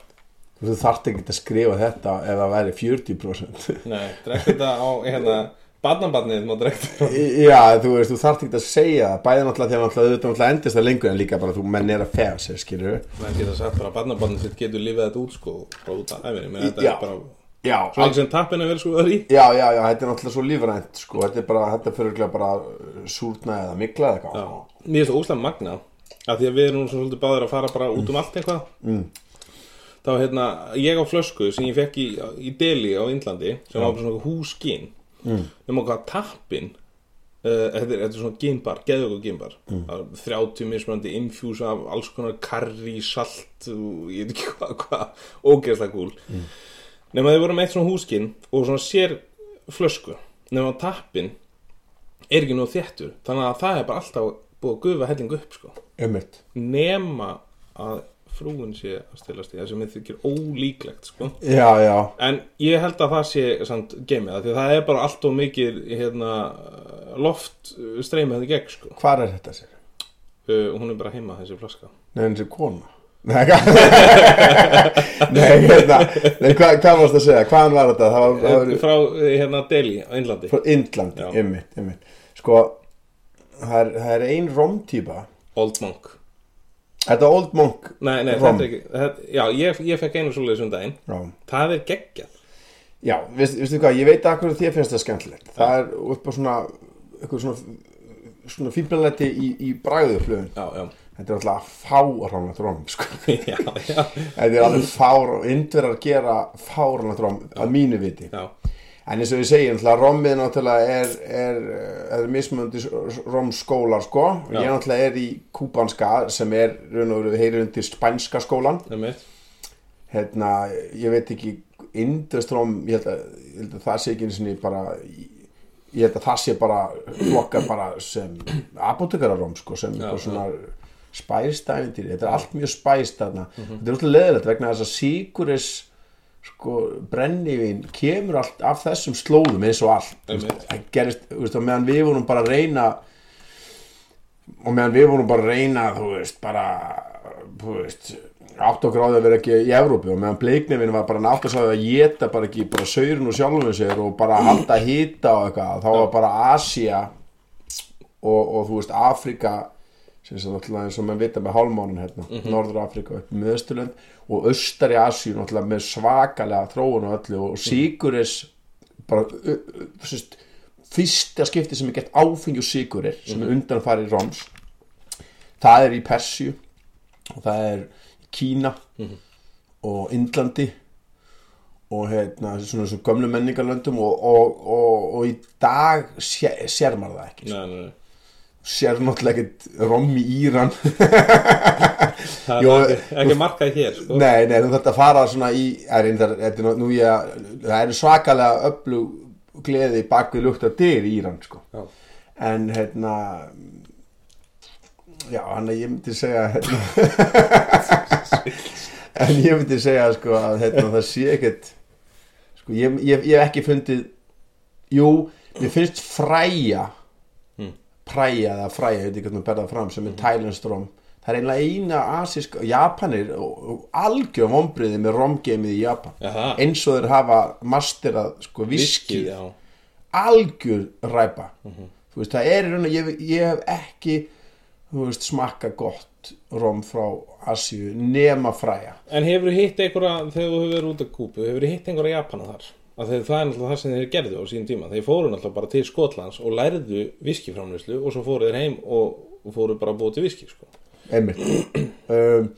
B: Þú þarft ekki að skrifa þetta ef það væri 40%
A: nei, drekkt þetta á hérna, barnabarnið má drekkt þetta.
B: Já, þú veist, þú þarft ekki að segja það Bæði náttúrulega þegar náttúrulega auðvitað náttúrulega endist það lengur en líka bara þú menn er að fega sér, skilur
A: Það geta sagt bara að barnabarnið sitt getur lifið þetta út sko frá út af æfinni, menn þetta
B: Já.
A: er bara
B: Já,
A: svo
B: al-
A: ekki sem tappinu verið svo öðri
B: já, já, já, þetta er náttúrulega svo lífrænt sko, þetta er bara, þetta fyrir örugglega bara uh, súrna eða mikla eða
A: Já,
B: eitthvað
A: mér finnst það óslega magna af því að við erum nú svona svolítið báðir að fara bara út um allt eitthvað mm. þá hérna, ég á flösku sem ég fekk í, í Delhi á Indlandi sem var bara svona húskinn mm. nema hvað tappin Uh, þetta, er, þetta er svona gimbar, geðvöku gimbar mm. 30 mismunandi infjús af alls konar karri, salt og ég veit ekki hvað hva, ógeðslega gúl mm. nema þau voru með eitt svona húskin og svona sér flösku nema tappin er ekki nóg þéttur þannig að það er bara alltaf búið að gufa helling upp sko.
B: Ömmit
A: nema að frúin sé að stilast í það sem mér þykir ólíklegt sko.
B: Já, já,
A: En ég held að það sé samt geimið það, því að það er bara allt og mikið hérna, loft streymið þetta gegn sko.
B: hvar er þetta sér?
A: Uh, hún er bara heima þessi flaska.
B: Nei, hans er kona Nei, hvað- Nei, hérna, nei hva, hvað varst að segja? Hvaðan var þetta? Það var, það var,
A: Frá eh, hérna Delhi á Indlandi.
B: frá Indlandi,
A: Já.
B: ymmit, ymmit Sko, það er, það er ein romtýpa
A: Old Monk.
B: Þetta er Old Monk
A: Nei, nei,
B: rom.
A: þetta er ekki. Þetta, já, ég, ég fekk einu svoleiðis um daginn.
B: Rom.
A: Það er geggjað.
B: Já, veist, veistu hvað, ég veit að hverju þér finnst það skemmtilegt Það er upp á svona, eitthvað svona, svona fíblanleiti í, í bræðuflöfun
A: Já, já.
B: Þetta er alltaf fáránlegt rom, sko
A: já, já,
B: Þetta er alveg fáránlegt, indverðar gera fáránlegt rom að mínu viti
A: já.
B: En eins og við segjum, náttúrulega, rommið náttúrulega er, er, eh, er mismunandi s- s- romskólar, sko
A: Já.
B: Ég náttúrulega er í kúbanska sem er, raun og veru, heyrir undir spænska skólan
A: Það er mitt.
B: hérna, ég veit ekki Indestróm, ég held að, ég held að það sé ekki einu sinni bara ég held að það sé bara flokkar bara sem apotekararóm sko,
A: Já,
B: sem eitthvað
A: já.
B: svona spæstæfindir, þetta er allt mjög spæst þarna,
A: Mhm.
B: þetta er alltaf leðilegt vegna þess að síkuris sko, brennivín kemur allt af þessum slóðum eins og allt Þú veist,
A: Einmitt.
B: það gerist, þú veist, og meðan við vorum bara að reyna og meðan við vorum bara að reyna þú veist, bara þú veist, átt og gráði að vera ekki í Evrópu og meðan bleiknefinn var bara nátt að sagði að geta bara ekki bara saurinn og sjálfum sér og bara halda hita og eitthvað þá var bara Asia og, og þú veist Afrika sem sem náttúrulega eins og menn vita með hálmónin hérna, Norður Afrika upp með Östurlönd og Östari Asíu náttúrulega með svakalega þróun og öllu og Siguris bara ö- ö- þú veist, fyrsta skipti sem er gett áfengi og Sigurir sem er undanfari Roms það er í Persju og það er Kína og Indlandi og hérna svona þessum gömlu menningarlöndum og, og, og, og í dag sér, sér maður það ekki sko
A: Nei, nei, nei.
B: sér náttúrulega ekkert rom í Íran
A: Það
B: Jó,
A: er ekki, ekki markað hér, sko.
B: nei, nei, þú þarft að fara svona í er einnig, þetta er nú- nú ég að- það eru svakalega öflug gleði bak við lukta dyr í Íran sko.
A: Já.
B: en hérna já, hann að ég myndi segja hérna, en ég myndi segja sko að hérna, það sé ekkert sko, ég, ég, ég hef ekki fundið jú, mér finnst fræja præja eða fræja, ég veit ekki hvernig að berða fram sem er Thailandstrom það er einlega eina asísk Japanir og, og algjör vombriði með romgeimið í Japan
A: Jaha.
B: eins og þeir hafa masterað sko viskið
A: Viskið, já.
B: algjör ræpa þú veist, það er í raun og ég, ég hef ekki þú veist, smakka gott rom frá Asíu nema fræja
A: En hefur hitt einhverja, þegar þú hefur verið út af Kúpu, hefur hitt einhverja Japana þar? Af því að það er náttúrulega það sem þeir gerðu á sín tíma. Þeir fóru náttúrulega bara til Skotlands og lærðu viskiframlýslu og svo fóru þeir heim og og fóru bara að búa til viski, sko.
B: einmitt um,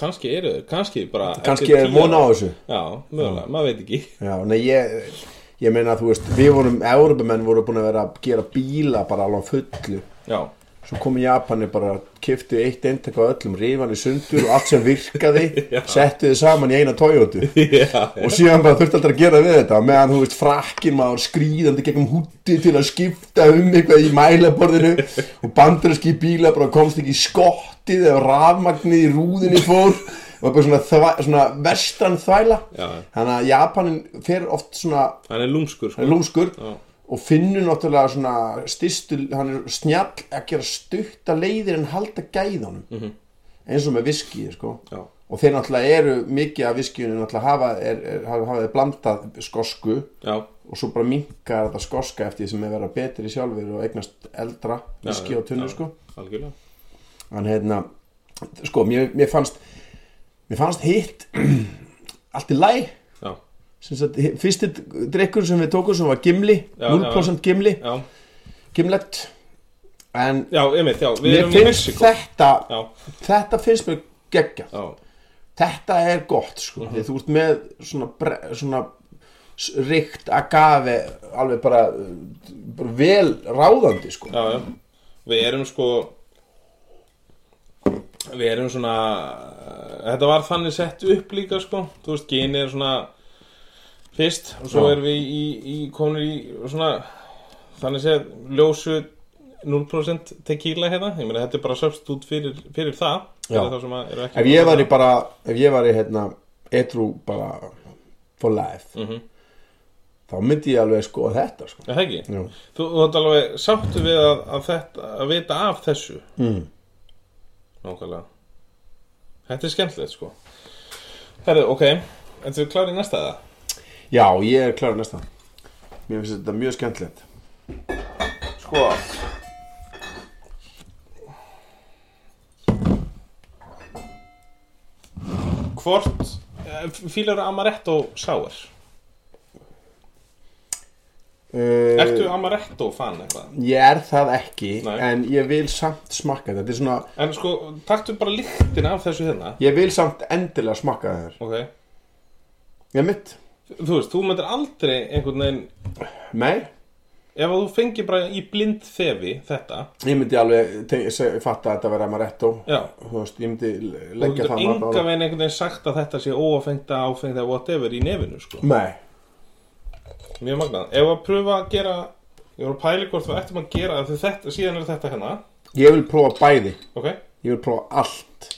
A: Kanski eru þeir, kannski bara...
B: kannski
A: eftir
B: er
A: tíu
B: vona á
A: ár.
B: þessu
A: Já, mögulega, maður veit ekki.
B: Já, nei, ég, ég meina þú veist, við vorum, Európumenn voru búin að vera að gera bíla bara alveg á fullu.
A: Já,
B: Svo komu Japanir bara, kiftu eitt eintak á öllum, rifan í sundur og allt sem virkaði, settu þið saman í eina Toyota.
A: já,
B: Og síðan bara þurfti alltaf að gera við þetta, á meðan þú veist, frakkin maður skrýðandi gegnum hútti til að skipta um eitthvað í mælaborðinu og bandurinski bíla bara komst ekki í skottið eða rafmagnið í rúðinni fór og bara svona, þvæ, svona vestran þvæla.
A: Já.
B: Þannig að Japanin fer oft svona
A: hann er lúmskur, sko.
B: lúmskur
A: Já.
B: og finnur náttúrulega svona styrstu, hann er snjall að gera stutta leiðir en halda gæðanum -hmm. eins og með viskið sko.
A: Mhm. Já.
B: og þeir náttúrulega eru mikið af viskiðunum náttúrulega hafa, er, er, hafa, hafa þeir blandað skosku
A: Já,
B: og svo bara minkar þetta skoska eftir því sem er vera betri sjálfur og eignast eldra viskið á tunnu sko
A: algjörlega.
B: en hérna sko mér, mér fannst mér fannst hitt allt í læg
A: Já,
B: sem sagt, hi- fyrsti drikkur sem við tókum sem var gimli,
A: Já,
B: 0% gimli
A: já,
B: gimlet en
A: já, einmitt, já, við
B: mér
A: erum í
B: finnst
A: Mexiko.
B: þetta
A: Já,
B: þetta finnst mér geggja
A: já, Mhm.
B: þetta er gott sko, því þú ert með svona, bre, svona s- ríkt agave alveg bara, uh, bara vel ráðandi sko
A: Já, já. Við erum sko Við erum svona Þetta var þannig sett upp líka sko Þú veist, geni er svona Fyrst og svo
B: Já.
A: erum við í, í konur í svona Þannig séð ljósu 0% tequila hérna Ég meina, þetta er bara substút fyrir, fyrir það
B: Já.
A: Fyrir þá sem að eru ekki-
B: ef ég væri bara ef ég væri hérna etrú bara for life
A: Mhm.
B: þá myndi ég alveg sko þetta sko
A: Er Það ekki?
B: Jú.
A: Þú, þú ert alveg sáttu við að, að, þetta, að vita af þessu
B: mm.
A: Nákvæmlega Þetta er skemmtilegt sko Herðu, ok, þetta er klárið næsta það
B: já ég er klar næsta mér finnst þetta mjög skemmtilegt
A: Sko Hvort eh, Fílar amaretto sáir
B: uh,
A: Ertu amaretto fan eitthvað?
B: ég er það ekki
A: Nei.
B: en ég vil samt smakka þetta þetta er svona
A: En sko, taktu bara lyktin af þessu hérna
B: ég vil samt endilega smakka þetta
A: Ok
B: ég er mitt
A: Þú veist, þú myndir aldrei einhvern veginn
B: nei
A: Ef að þú fengir bara í blind þefi þetta
B: ég myndi alveg te- se- fatta að þetta verða amaretto
A: Já
B: þú veist, ég myndi le-
A: Þú
B: leggja
A: getur
B: það mat
A: enga
B: á það.
A: veginn einhvern veginn sagt að þetta sé óafengta, áfengta, whatever í nefinu sko
B: nei,
A: Mjög magnað. Ef að pröfa að gera, ég voru að pæli hvort við ættum að gera því þetta, síðan er þetta hérna,
B: ég vil prófa bæði
A: ok?
B: ég vil prófa allt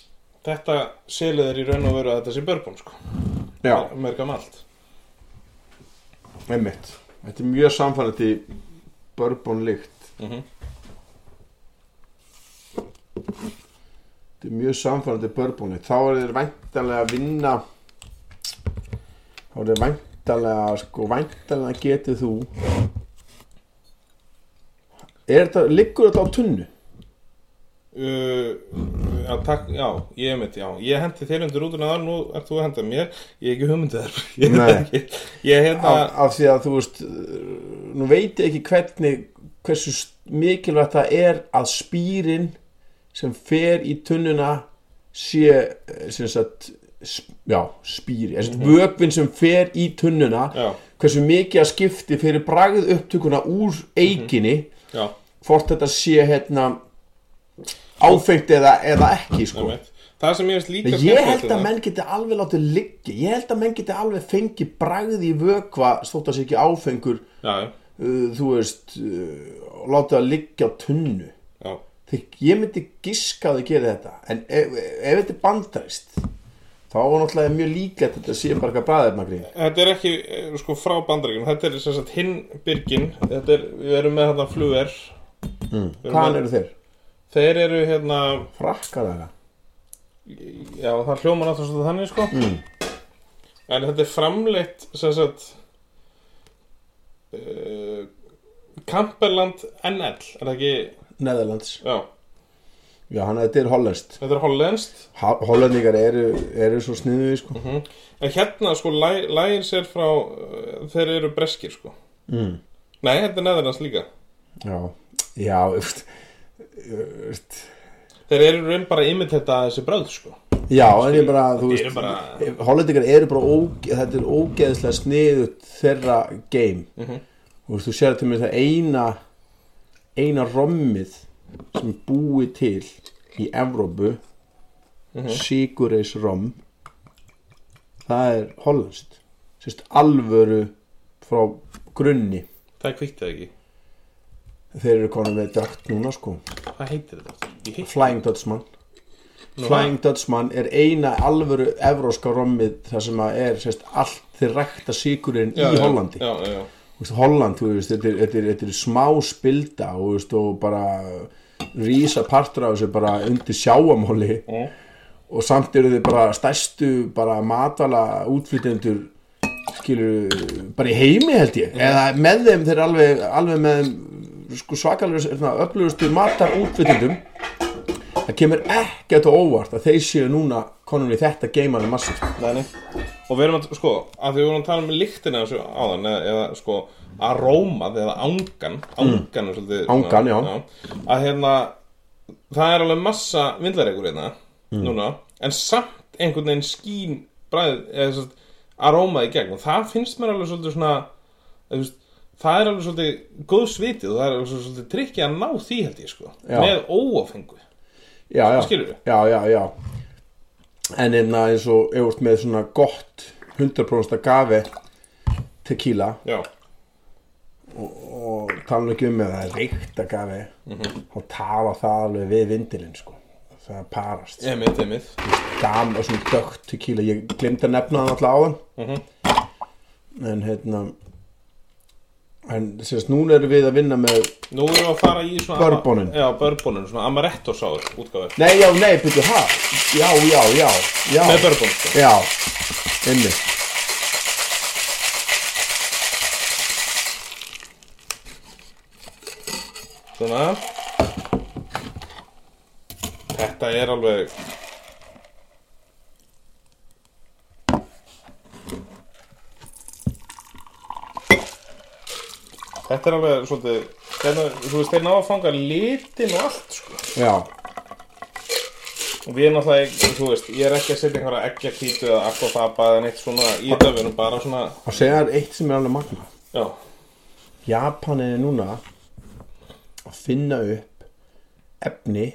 A: Þetta selið er í raun og veru að þetta sé börbón, sko.
B: já,
A: Mergam allt.
B: einmitt þetta er mjög samfærandi bourbon lykt
A: Mhm.
B: þetta er mjög samfærandi bourbon lykt þá er þeir væntanlega að vinna þá er þeir væntanlega sko væntanlega getið þú er þetta, liggur þetta á tunnu?
A: Uh, já, takk, já, ég er mitt, já. Ég hendi þér undir rútuna þar, nú ert þú að henda mér. Ég er ekki hugmyndið þar. Ég,
B: Nei.
A: Ég, ég hérna,
B: af, af því að þú veist eh, nú veit ég ekki hvernig hversu s- mikilvægt það er að spýrin sem fer í tunnuna sé eh, sem sagt sp- já, spýri, þessi vökvin sem fer í tunnuna
A: já,
B: hversu mikið að skipti fyrir bragð upptökuna úr eiginni
A: já,
B: hvort þetta sé hérna áfengt eða, eða ekki
A: ég
B: sko.
A: mitt. Það sem ég veist líka
B: Ég
A: skemmtilegt
B: held
A: við
B: að
A: það-
B: menn geti alveg látið liggja Ég held að menn geti alveg fengið bragði í vökva Stótt að sé ekki áfengur
A: Já, já,
B: uh, Þú veist uh, og Látið að liggja á tunnu
A: já.
B: Þegar ég myndi giska að þau gera þetta En ef, ef þetta er bandarist Þá var náttúrulega mjög líka Þetta sé bara eitthvað bræðefnagri
A: Þetta er ekki, eh, sko, frá bandaríkjum. Þetta er sem sagt hinn byrgin. Þetta er, við erum með hérna fluger. Við erum
B: Hvaðan
A: með-
B: eru þeir?
A: Þeir eru hérna
B: Frakkar þeirra
A: Já, það hljómar alltaf svo þannig sko En þetta er framleitt sem sagt uh, Kamperland NL Er það ekki,
B: Neðalands
A: já
B: Já, hann þetta er hollenskt
A: Þetta er hollenskt
B: Ha- Hollendingar eru, eru svo sniðu sko.
A: Mhm. En hérna sko læ, lægir sér frá uh, Þeir eru breskir sko
B: mm.
A: Nei, þetta er neðarnast líka
B: Já, já öft, öft,
A: Þeir eru í raun bara að imitata þessi bröð sko
B: Já, en ég bara, þú
A: Þetta
B: veist,
A: eru bara-
B: hollendingar eru bara, óge, þetta er ógeðslega sniðut þeirra game.
A: Mhm.
B: Þú veist, þú sér til mér það eina, eina rommið sem er búið til í Evrópu, mm
A: Mhm.
B: -hmm. Sigureis rom, það er hollenskt. Sérst, alvöru frá grunni.
A: Það er kvikt eða ekki
B: Þeir eru konum með dögt núna, sko.
A: Hvað heitir þetta? aftur? Ég heitir
B: Flying Dutchman. Flying Dutchman er eina alvöru evróska rommið þar sem að er sérst, allt þeir rækta síkurinn í
A: Já, já,
B: Hollandi
A: Já, já, já
B: Þú veist, Holland, þú veist, þetta er, þetta er, þetta er smá spilda og, þú veist, og bara rísa partur af þessu bara undir sjáamáli
A: Mm.
B: og samt eru þið bara stærstu bara matala útflytjendur skilur bara í heimi held ég eða með þeim þeir eru alveg, alveg með þeim sko, svakalur öflugustu matar útflytjendum það kemur ekkert á óvart að þeir séu núna konum í þetta geimanum massist
A: Nei, nei. Og við erum að, sko, að því við vorum að tala um lyktina þessu áðan, eða, eða sko, arómað eða ángan, ángan er svolítið.
B: Mm. Angan, já.
A: Að hérna, það er alveg massa
B: Mm.
A: vindlaregur hérna, núna, en samt einhvern veginn skín bræð, eða svo, aróma í gegn og það finnst mér alveg svolítið svona þú veist, það er alveg svolítið góð svitið og það er alveg svolítið trikki að ná því held ég sko
B: Já.
A: með óáfengu
B: já, já,
A: Skilurðu?
B: já, já, já. en einna eins og ef þú ert með svona gott 100% gafi tequila
A: já,
B: og tala nú ekki um með það er reykt að gafi þá tala það alveg við vindilinn sko það parast yeah.
A: emið, emið
B: dam og svona dögt tequila ég glemdi að nefna það alltaf áðan en hérna en sérst núna erum við að vinna með
A: nú erum við að fara í svona
B: Bourbonin.
A: já, börbonin, svona amaretto sáður útgáður
B: nei já nei byrju ha já já já já
A: með börbon sko.
B: já inni
A: svona þetta er alveg Þetta er alveg svolítið, þeirna, þú veist, þeir ná að fanga litin og allt, sko.
B: já
A: Og við erum náttúrulega, ekki- þú veist, ég er ekki að setja einhverja ekki að kýtu eða aquafaba eða neitt svona í þetta, við erum bara svona,
B: og segja þér eitt sem er alveg magna
A: já,
B: Japan er núna að finna upp efni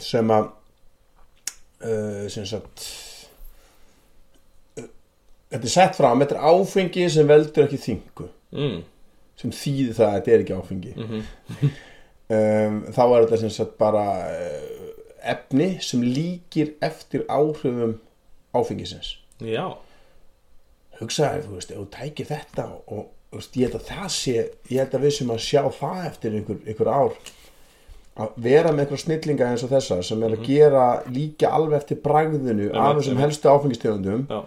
B: sem að uh, sem sagt uh, þetta er sett fram þetta er áfengi sem veldur ekki þingu
A: mm,
B: sem þýði það að þetta er ekki áfengi um, þá er þetta sem sagt bara uh, efni sem líkir eftir áhrifum áfengisins
A: já,
B: hugsaði, þú veist, ef þú tækir þetta og þú veist, ég held að það sé ég held að við sem að sjá það eftir einhver, einhver ár að vera með einhver snillinga eins og þessa sem er að gera líka alveg eftir bragðinu af þessum
A: Mhm. einmitt.
B: helstu áfengistegundum
A: já,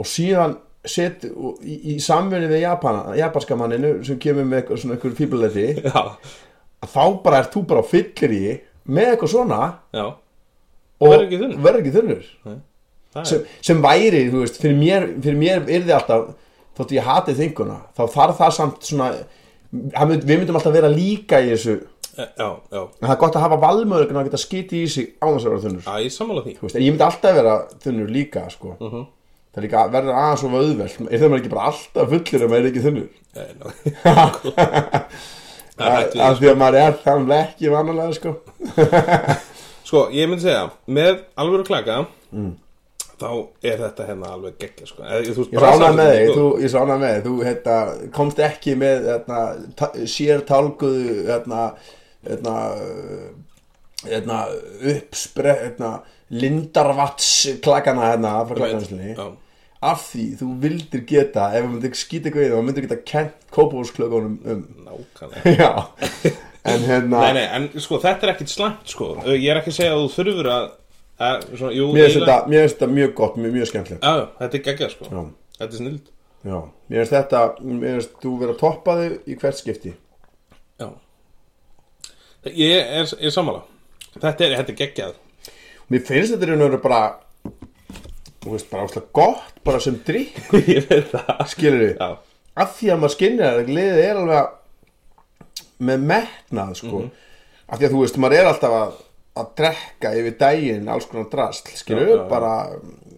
B: og síðan set og í, í samvinni við Japana, japanska manninu sem kemur með eitthvað svona einhver fíbuleti
A: já,
B: að þá bara ert þú bara á fyllir í með eitthvað svona
A: já,
B: og
A: verður ekki þunnur.
B: verður ekki þunnur
A: það er,
B: sem, sem væri, þú veist, fyrir mér, fyrir mér yrði alltaf, þótt ég hati þinguna, þá þarf það samt svona, hann mynd, við myndum alltaf vera líka í þessu, en
A: eh, já, já,
B: það er gott að hafa valmöðurinn að geta skiti í sig á þess að vera þunnur,
A: já, ég sammála því,
B: þú veist, en ég myndi alltaf vera þunnur líka, sko.
A: Mhm.
B: Það er líka að verða aðeins og auðvelt, er það maður ekki bara alltaf fullur ef maður er ekki þunnur?
A: já, já,
B: Að-
A: það er hættu
B: Af því að maður er þannig ekki vanalega, sko.
A: Sko, ég myndi segja, með alvöru klaka þá er þetta hérna alveg geggja, sko Eð, þú, Sko, veist,
B: Mm. Ég
A: brasa-
B: sána með þig, þú, ég sána með þig, þú hérna, komst ekki með hérna, ta- sér tálguðu hérna, hérna, hérna, uppspre, hérna, lindarvats klakana hérna, frá klakanslinni.
A: Já,
B: Af því þú vildir geta, ef þú myndir skýta eitthvað í það, þú myndir geta kent kópúsklökunum um.
A: nákvæmlega
B: Já, en hérna,
A: Nei, nei, en sko, þetta er ekkit slæmt, sko Ég er ekki að segja að þú þurfur að, að svona, jú,
B: mér finnst
A: eiginlega-
B: þetta, mér finnst þetta mjög gott, mjög, mjög skemmtilegt.
A: Já, já, þetta er geggja, sko
B: Já.
A: Þetta er snild
B: Já, mér finnst þetta, mér finnst þú vera að toppa þig í hvert skipti.
A: Já Ég er, ég er sammála Þetta er, þetta er geggjað
B: Mér finnst þetta í raun og veru bara Þú veist, bara áslega gott Bara sem drikk,
A: Ég veit það
B: skilur við
A: Já,
B: Af því að maður skinnir að liðið er alveg að- Með metnað, sko
A: Mhm.
B: Af því að þú veist, maður er alltaf að Að drekka yfir daginn Alls konar drasl,
A: Já,
B: skilur við
A: já, já.
B: Bara,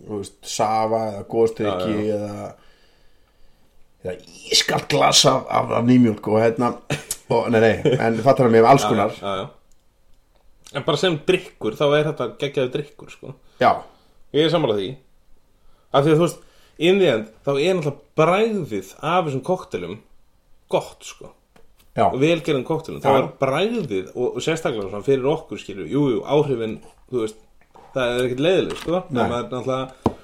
B: þú veist, safa eða góðstrykki Eða Eða ískalt glas af, af, af nýmjólk Og hérna og, Nei, nei, en fattar það mig alls
A: já,
B: konar
A: já, já En bara sem drikkur, þá er þetta geggjaðu drikkur, sko
B: Já,
A: Ég er sammála því Af því að þú veist, in the end Þá er náttúrulega bræðið af þessum koktelum Gott sko
B: já,
A: Og velgerðum koktelum, þá
B: Já.
A: er bræðið Og, og sérstaklega svona fyrir okkur skilur Jú, jú, áhrifin, þú veist Það er ekkert leiðileg sko
B: Nei.
A: Það er náttúrulega,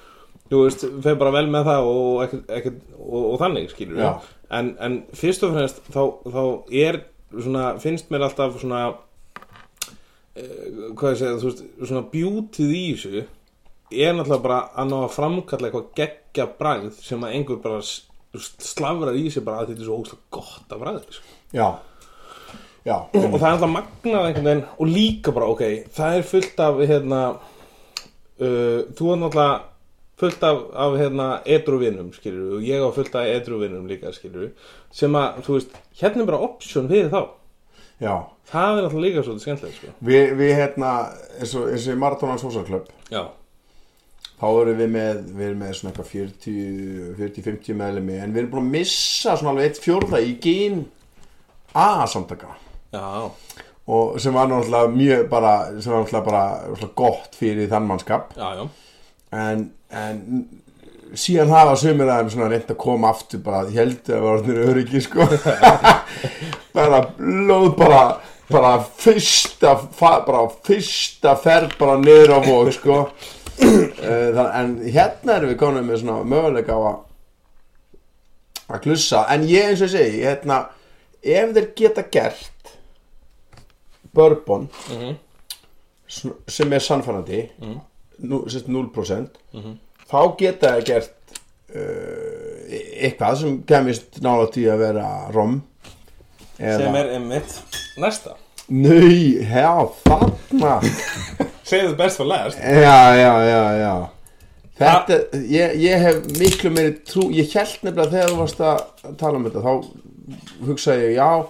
A: þú veist, fer bara vel með það Og, ekkert, ekkert, og, og þannig skilur
B: Já.
A: en, en fyrst og fremst Þá, þá er svona, finnst mér alltaf svona eh, hvað ég segja, þú veist, svona bjútið í þessu er náttúrulega bara að ná að framkalla eitthvað geggja bræð sem að einhver bara s- þú veist, slafrar í sig bara að þetta er svo óslega gott að bræði sko.
B: já Já,
A: og það er alltaf magnað einhvern veginn og líka bara, ok, það er fullt af hérna uh, þú er náttúrulega fullt af, af hérna edruvinum, skilur og ég á fullt af edruvinum líka, skilur sem að, þú veist, hérna er bara option fyrir þá,
B: já
A: það er náttúrulega líka svolítið skemmtilegt, sko
B: Við, við hérna, eins og, eins og í Marathonans Húsaklöpp,
A: Já,
B: þá erum við með, við erum með svona eitthvað 40 40-50 meðlemi en við erum búin að missa svona alveg eitt fjórða í gín A-samtaka
A: Já,
B: og sem var náttúrulega mjög bara sem var náttúrulega bara náttúrulega gott fyrir þann mannskap
A: já, já
B: en, en síðan hafa sömur að þeim svona reynd að koma aftur bara ég held að það var orðinir öryggi sko bara blóð bara bara fyrsta fa- bara fyrsta ferð bara niður á vók sko Eh, það, en hérna erum við konum með svona möguleika á að að klussa en ég eins og ég segi hérna, ef þeir geta gert bourbon
A: Mhm.
B: sn- sem er sannfærandi nú, sérst 0%
A: Mhm.
B: þá geta það gert uh, e- eitthvað sem kemist nálægt í að vera rom
A: Sem er einmitt næsta
B: Nei, já, þarna
A: Segðu best for last
B: Já, já, já, já Þetta, ég, ég hef miklu meiri trú Ég held nefnilega þegar þú varst að tala um þetta Þá hugsaði ég, já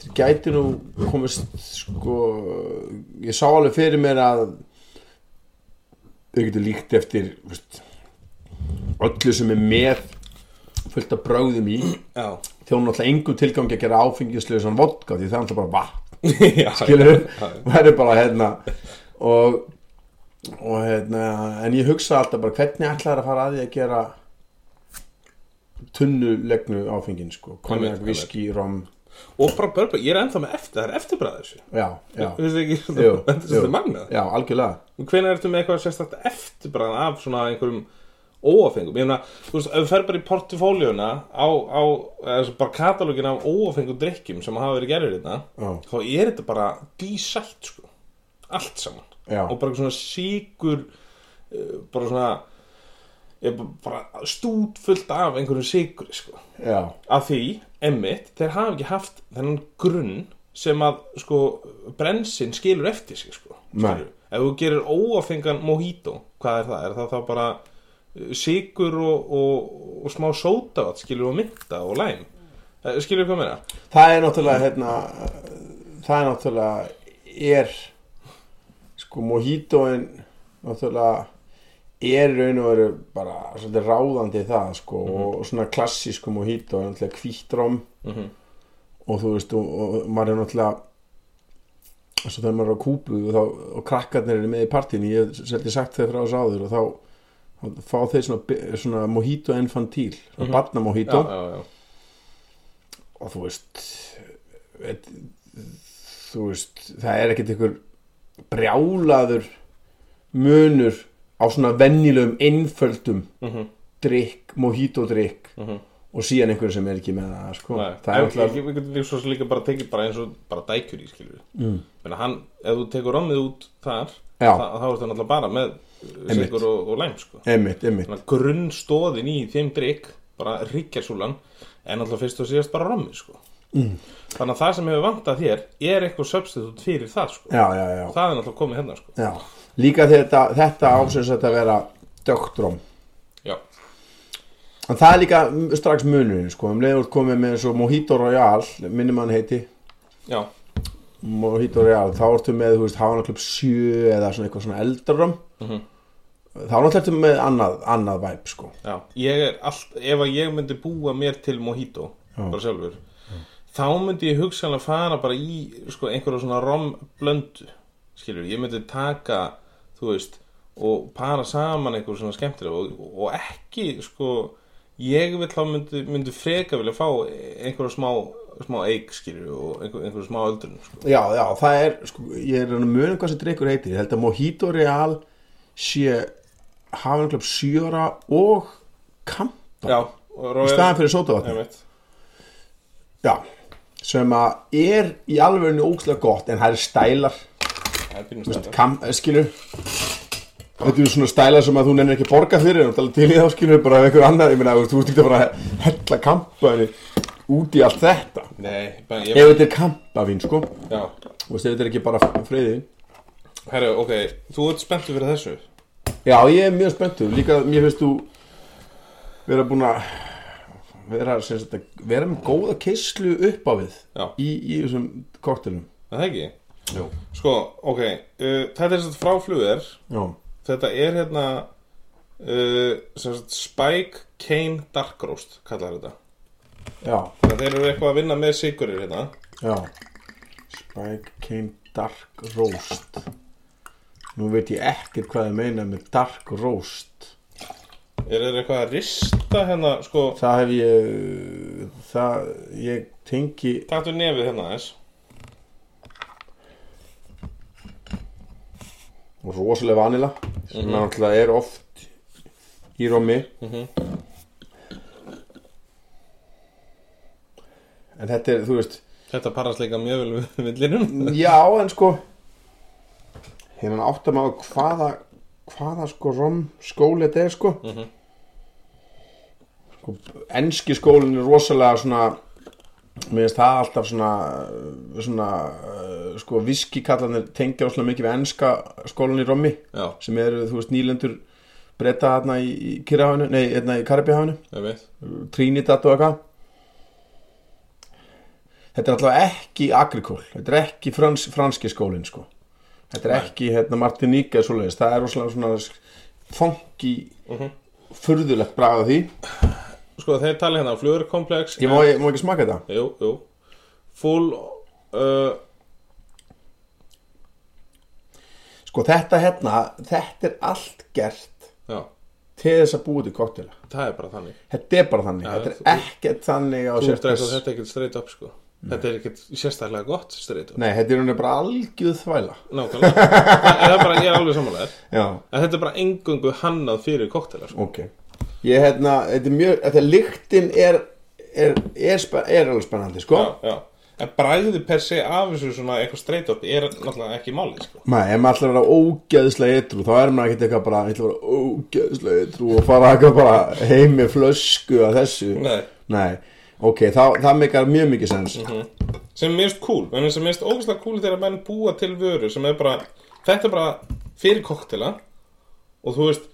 B: Þeir gæti nú komist sko Ég sá alveg fyrir mér að Þau getur líkt eftir þú veist, Öllu sem er með Fullt af brögðum í
A: Já,
B: Þjóna alltaf engum tilgangi að gera áfengislega Svona vodka, því það er alltaf bara vatn
A: já
B: skilur
A: já, já.
B: væri bara hérna og, og hérna en ég hugsa alltaf bara hvernig ætlaður að fara að því að gera tunnu legnu áfengin sko konjak,
A: Einmitt,
B: viski, rom
A: Og bara börba, ég er ennþá með eftir, það er eftirbræð þessu
B: já, já,
A: Þú veist ekki,
B: Jú,
A: þetta er
B: jú.
A: svolítið magnað
B: já, algjörlega
A: Hvenær ertu með eitthvað sérstakt eftirbræð af svona einhverjum óafengum Ég meina, þú veist, ef við fer bara í portfólióna á, á eða svo bara katalógin af óafengum drikkjum sem hafa verið gerður hérna
B: Já.
A: þá er þetta bara dísætt sko allt saman
B: Já.
A: og bara svona síkur eh, bara svona ég, bara stút fullt af einhverjum síkur sko
B: já,
A: að því, emmitt, þeir hafa ekki haft þennan grunn sem að sko, brennsinn skilur eftir sig sko,
B: Nei.
A: Skilurðu? ef þú gerir óafengan mojito, hvað er það? er það þá bara sigur og, og, og smá sótavat skilur og mynda og læm Eh, skilur hvað meina?
B: það er náttúrulega hérna, það er náttúrulega er sko mojitoin náttúrulega er í raun og veru bara svolítið ráðandi í það sko og svona klassísku mojito er náttúrulega hvítrom
A: Mhm.
B: og þú veist og, og maður er náttúrulega svo þegar maður er á kúpu og, þá, og krakkarnir eru með í partíni ég hef seldi sagt þeir frá þessu áður og þá, þá fá þeir svona, bi- svona mojito infantil, svona mm -hmm. barna mojito
A: Mhm. já, já,
B: og þú veist et, þú veist það er ekkert einhver brjálaður munur á svona vennilegum einföldum
A: mm -hmm.
B: drikk, mojito drikk
A: Mhm.
B: og síðan einhver sem er ekki með það sko.
A: Nei,
B: það er alltaf
A: ekki, við getum líka svo sem líka bara tekið bara eins og bara dækjur í skilur
B: Mm.
A: Menna, hann, ef þú tekur rommið út þar
B: Já.
A: þá, þá er það náttúrulega bara með
B: Einmitt.
A: sigur og, og læm sko.
B: einmitt, einmitt,
A: Þannig að grunnstóðin í þeim drikk bara ríkjarsúlan en alltaf fyrst og síðast bara rommið sko. mm. þannig að það sem hefur vantað þér er eitthvað substitut fyrir það sko.
B: já, já, já,
A: það er alltaf komið hérna sko.
B: já. líka þetta, þetta ásins að þetta vera dögtróm
A: já,
B: en það er líka strax munurinn sko. um leiður komið með eins og mojito royale minnum hann heiti
A: já,
B: Mojito Real, þá ertu með, þú veist, Havana Club 7 eða svona eitthvað svona eldarum mm
A: Mhm.
B: þá náttúrulega ertu með annað, annað væp, sko
A: já ég er allt, ef að ég myndi búa mér til mojito
B: Já.
A: bara sjálfur þá myndi ég hugsanlega fara bara í sko, einhverja svona romblöndu skilur, ég myndi taka þú veist, og para saman einhver svona skemmtilega og, og ekki sko, ég vil þá myndi, myndi freka vilja fá einhverja smá, smá eik skilur og einhver, einhverja smá öldrun sko.
B: Já, já, það er, sko, ég er að muna hvað sem drikkur heitir, ég held að Mojito Real sé Havana Club 7 ára og Kampa,
A: já, og
B: í
A: Royal-
B: staðan fyrir sótavatni
A: Einmitt.
B: Já, sem að er í alvegurinu ókslega gott, en það er stælar
A: það er pínum
B: Þú veist,
A: stærra.
B: kam, eh, skilur Þetta eru svona stæla sem að þú nennir ekki að borga fyrir en náttúrulega til í þá skilur bara ef einhver annar ég meina, þú veist, þú ert ekki að fara að hella kampaðinni út í allt þetta
A: nei, bara
B: Ef
A: ég
B: þetta er kampavín, sko þú
A: já,
B: veist, ef þetta er ekki bara friðin
A: herru, ok þú ert spenntu fyrir þessu
B: Já, ég er mjög spenntur, líka mér finnst þú vera búin að vera, sem sagt, að vera með góða keislu upp á við
A: Já.
B: í, í þessum koktelum
A: Er það ekki?
B: Jú.
A: Sko, ok, uh, þetta er þetta fráflugur
B: Já,
A: Þetta er hérna uh, sem sagt, Spike Cane Dark Roast kallar þetta
B: já,
A: þannig að þeir eru eitthvað að vinna með sigurir hérna
B: já Spike Cane Dark Roast Nú veit ég ekkert hvað ég meina með Dark Roast
A: eru þeir eitthvað að rista hérna sko,
B: Það hef ég það, ég tengi
A: taktu nefið hérna aðeins
B: rosalega vanila sem náttúrulega er oft í rómi En þetta er, þú veist
A: þetta parast líka mjög vel við villinum
B: Já, en sko hérna áttar maður hvaða hvaða sko rom skóli þetta er sko sko, enski skólin er rosalega svona mér finnst það alltaf svona uh, svona, uh, sko, viskikallanir tengja rosalega mikið við enska skólan í rommi
A: já,
B: sem eru, þú veist, nýlendur breyta hérna í, í Kirrahafinu, nei, hérna í Karabíhafinu
A: ég veit
B: Trinidad og eitthvað Þetta er alltaf ekki agrikól, þetta er ekki frans, franski skólinn sko Þetta er ekki hérna, Martiníka svoleiðis, það er rosalega svona funky
A: Mhm.
B: furðulegt bragð af því
A: sko þeir tala hérna flugurkomplex
B: Ég má, ég má ekki smaka þetta
A: jú, jú full uh,
B: Sko þetta hérna, þetta er allt gert
A: já,
B: til þess að búið til koktela
A: það er bara þannig
B: Þetta er bara þannig,
A: Já,
B: þetta
A: þú-
B: er ekkert þannig á
A: þú
B: sér
A: veist að þetta er ekkert straight up sko þetta er ekkert sérstaklega gott straight up
B: Nei, þetta er hún er bara algjöð þvæla
A: nákvæmlega það, það er bara, ég er alveg samanlega
B: Já,
A: En þetta er bara engungu hannað fyrir koktelar sko.
B: ok Ég hérna, þetta er mjög, þetta lyktin er, er, er, spen, er alveg spennandi sko
A: Já, já En bræðið per se af þessu svona eitthvað straight up er náttúrulega ekki málið sko.
B: Nei, ef maður ætlar að vera ógeðslega ytrú þá er maður ekkert eitthvað bara, ég ætla að vera ógeðslega ytrú og fara eitthvað bara heim með flösku að þessu
A: Nei.
B: ok, þá, það meikar mjög mikið sens
A: Mhm. Sem er mérst cool En sem er mérst ógæslega cool þegar menn búa til vöru sem er bara, þetta er bara fyrir koktela og þú veist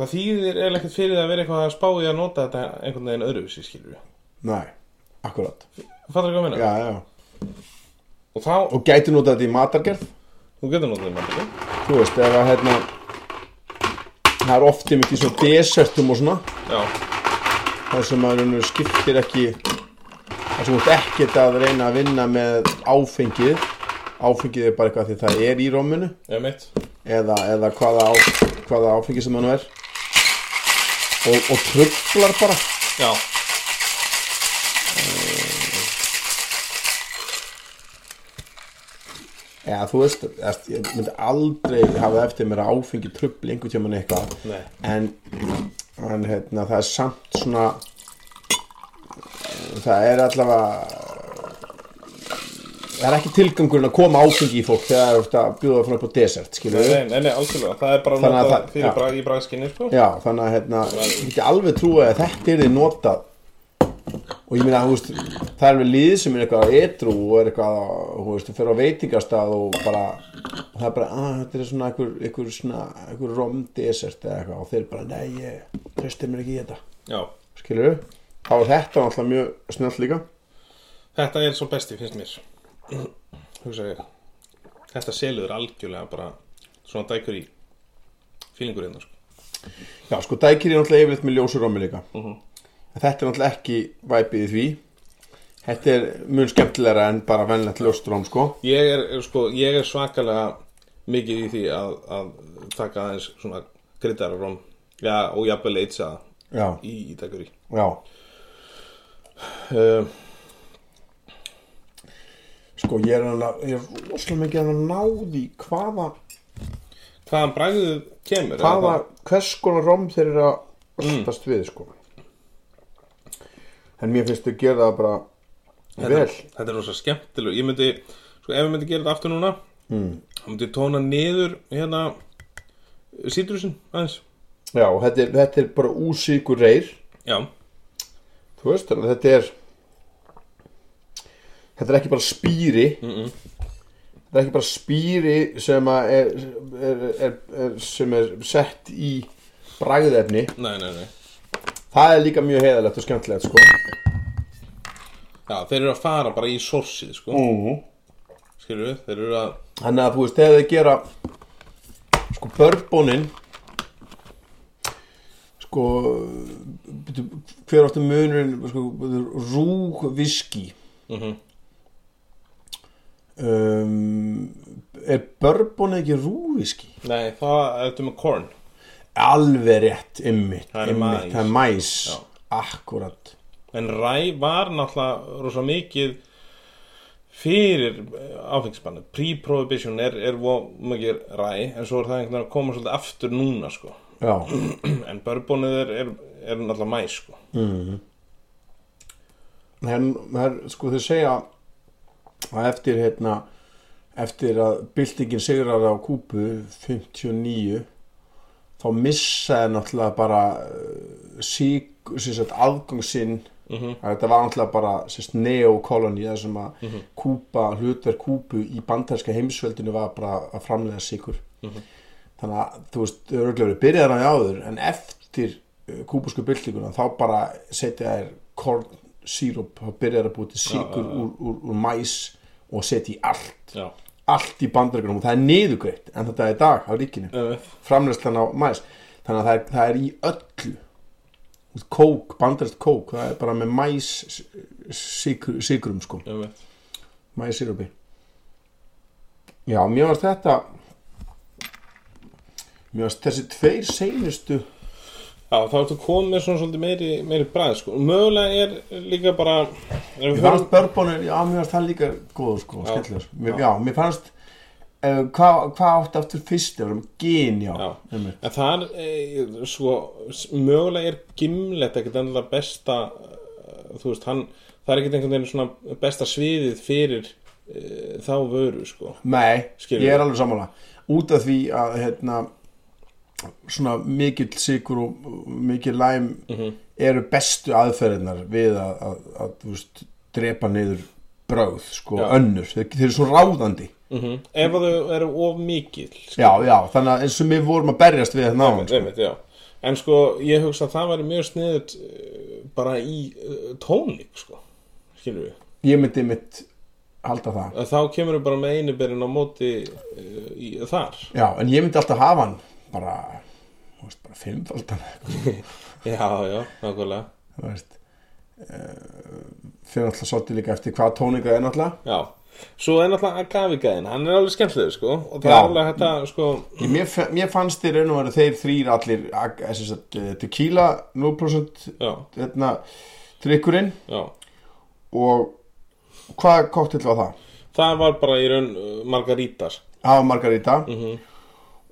A: það þýðir eða ekkert fyrir það að vera eitthvað að spá í að nota þetta einhvern veginn öðruvísi skilur við
B: Nei, akkurat
A: Fattar ekki að minna?
B: Já, já
A: Og þá,
B: Og gæti nota þetta í matargerð
A: þú getur notað þetta málið
B: Þú veist, ef að hérna það er oft einmitt í svona desertum og svona
A: Já,
B: þar sem maður raunverulega skiptir ekki þar sem þú ert ekkert að reyna að vinna með áfengið áfengið er bara eitthvað því það er í rómunu
A: ég mitt
B: eða, eða hvaða, á, hvaða áfengið sem hann er og, og trublar bara
A: Já
B: eða þú veist, eða, ég myndi aldrei hafa eftir mér að áfengi trubli einhvern tjóman eitthvað
A: Nei.
B: en, en hérna, það er samt svona það er allavega það er ekki tilgangurinn að koma áfengi í fólk þegar þú ert að bjóða frá upp á desert skilur
A: Nei, nei, nei, algjörlega, það er bara
B: Þannig að
A: notað
B: það-
A: fyrir
B: já.
A: bragð, í bragðskinni sko.
B: Já, þannig að hérna, ég geti alveg trúið að þetta er þið notað og ég meina, þú veist, það er alveg lið sem er eitthvað etru og er eitthvað, þú veist, fyrir á veitingastað og bara, og það er bara, að þetta er svona einhver, einhver svona, einhver romdesert eða eitthvað og þeir bara, nei, ég tröstir mér ekki í þetta,
A: Já,
B: skilur við? Þá er þetta náttúrulega mjög snöll líka.
A: þetta er svo besti finnst mér Hugsa ég Þetta selur algjörlega bara svona dækur í fílingur hérna sko.
B: Já, sko, dækir er náttúrulega yfirleitt með ljósur rommi líka. En þetta er náttúrulega ekki væpið í því. Þetta er mun skemmtilegra en bara vennlegt ljóstróm, sko.
A: Ég er, er, sko, ég er svakalega mikið í því að, að taka aðeins svona kryddar og róm Já, og jafnvel eitsa
B: Já,
A: í, í dækur í
B: já.
A: um,
B: Sko ég er alveg, ég er rosalega mikið að náði hvaða,
A: Hvaðan bragðið kemur eða
B: hvaða,
A: hvað?
B: hvers konar rom þeir eru að öllast við sko. En mér finnst þau gera það bara vel.
A: þetta, þetta er rosa skemmtileg Ég myndi, sko ef ég myndi gera þetta aftur núna þá myndi ég tóna niður hérna sítrusinn aðeins
B: Já, og þetta er, þetta er bara úsíkur reyr,
A: Já,
B: þú veist, þannig að þetta er, þetta er ekki bara spýri, þetta er ekki bara spýri sem að er, er, er, er, sem er sett í bragðefni.
A: nei, nei, nei
B: Það er líka mjög heiðalegt og skemmtilegt sko.
A: Já, þeir eru að fara bara í sorsið, sko
B: Mhm.
A: Skilur við, þeir eru að
B: Þannig að þú veist, þegar þið gera sko börbónin sko bíddu, hver áttu munurinn sko, rúg viski
A: Mhm.
B: um, er bourbon ekki rúg viski?
A: Nei, það ertu með corn
B: alveg rétt, ymmit
A: Það er
B: ymmit,
A: mais.
B: það er mæs
A: Já.
B: akkurat
A: En ræ var náttúrulega rosa mikið fyrir áfengisbannu Pre-prohibition er, er vo- mikið ræ En svo er það einhvern veginn að koma svolítið aftur núna sko
B: já,
A: En börbónið er, er, er náttúrulega mæ sko
B: en það er sko þau segja að eftir hérna eftir að byltingin sigrar á kúpu 59 þá missaði náttúrulega bara uh, sík, sagt, afgangsinn
A: Mhm.
B: að þetta var náttúrulega bara sérst, neokoloni það sem að kúpa, hlutverk kúpu í bandarska heimsveldinu var bara að framlega sigur þannig að þú veist, þau eru örugglega verið byrjaðar á því áður en eftir uh, kúpusku byltinguna þá bara setja þær korn sírup, þá byrjaðar að búið til
A: já,
B: sigur
A: já.
B: Úr, úr, úr mæs og setja í allt
A: Já,
B: allt í bandargrunum og það er niðugreitt en þetta er í dag á ríkinu
A: öf,
B: framleyslan á mæs þannig að það er, það er í öllu Þú veist, kók, bandarist kók það er bara með mæs sigur, sigurum sko,
A: öf.
B: mæs sirupi já, mér varst þetta mér varst þessi tveir seinustu
A: Já, þá ertu komið með svona svolítið meiri, meiri bræð sko Mögulega er líka bara ef við
B: mér
A: förum-
B: fannst börbónir, já, mér varst það líka góður sko,
A: Já.
B: skellur mér,
A: Já.
B: já, mér fannst uh, hvað hva átti aftur fyrst, það var um gín, já,
A: Já.
B: einmitt.
A: En það er, e, sko, s- mögulega er gimlet ekkert endilega besta, eh, þú veist, hann, það er ekkert einhvern veginn svona besta sviðið fyrir e, þá vöru, sko.
B: Nei,
A: Skilurðu?
B: ég er alveg sammála út af því að hérna, svona mikill sigur og og mikill læm
A: Mhm.
B: eru bestu aðferðinar við að, að, að þú veist, drepa niður bröð, sko,
A: Já.
B: önnur þeir, þeir eru svo ráðandi
A: Mm Ef að þau eru of mikil, sko.
B: já, já, þannig að eins og við vorum að berjast við þetta náðan, sko.
A: Einmitt, já. En sko, ég hugsa að það væri mjög sniðut bara í eh, tónleik, sko, skilur við.
B: ég myndi mitt halda það
A: Að Þá kemur við bara með einu berin á móti uh, í, þar.
B: já, en ég myndi alltaf hafa hann bara, þú veist, bara fimmfaldan
A: Já, já, nákvæmlega.
B: þú veist uh, fyrir alltaf svolítið líka eftir hvað tóninga er náttúrulega
A: Já, svo er náttúrulega Agavi gæðin, hann er alveg skemmtilegur sko og það
B: Já.
A: er alveg hægt að sko
B: Ég- Mér, fe- mér fannst þér raun og veru þeir þrýr allir ag- eh, sem sagt, eh, tequila 0%
A: já,
B: hérna, drikkurinn
A: já,
B: og hvað kóttill var það?
A: það var bara í raun uh, margarítar
B: Hafa margarita
A: Mhm.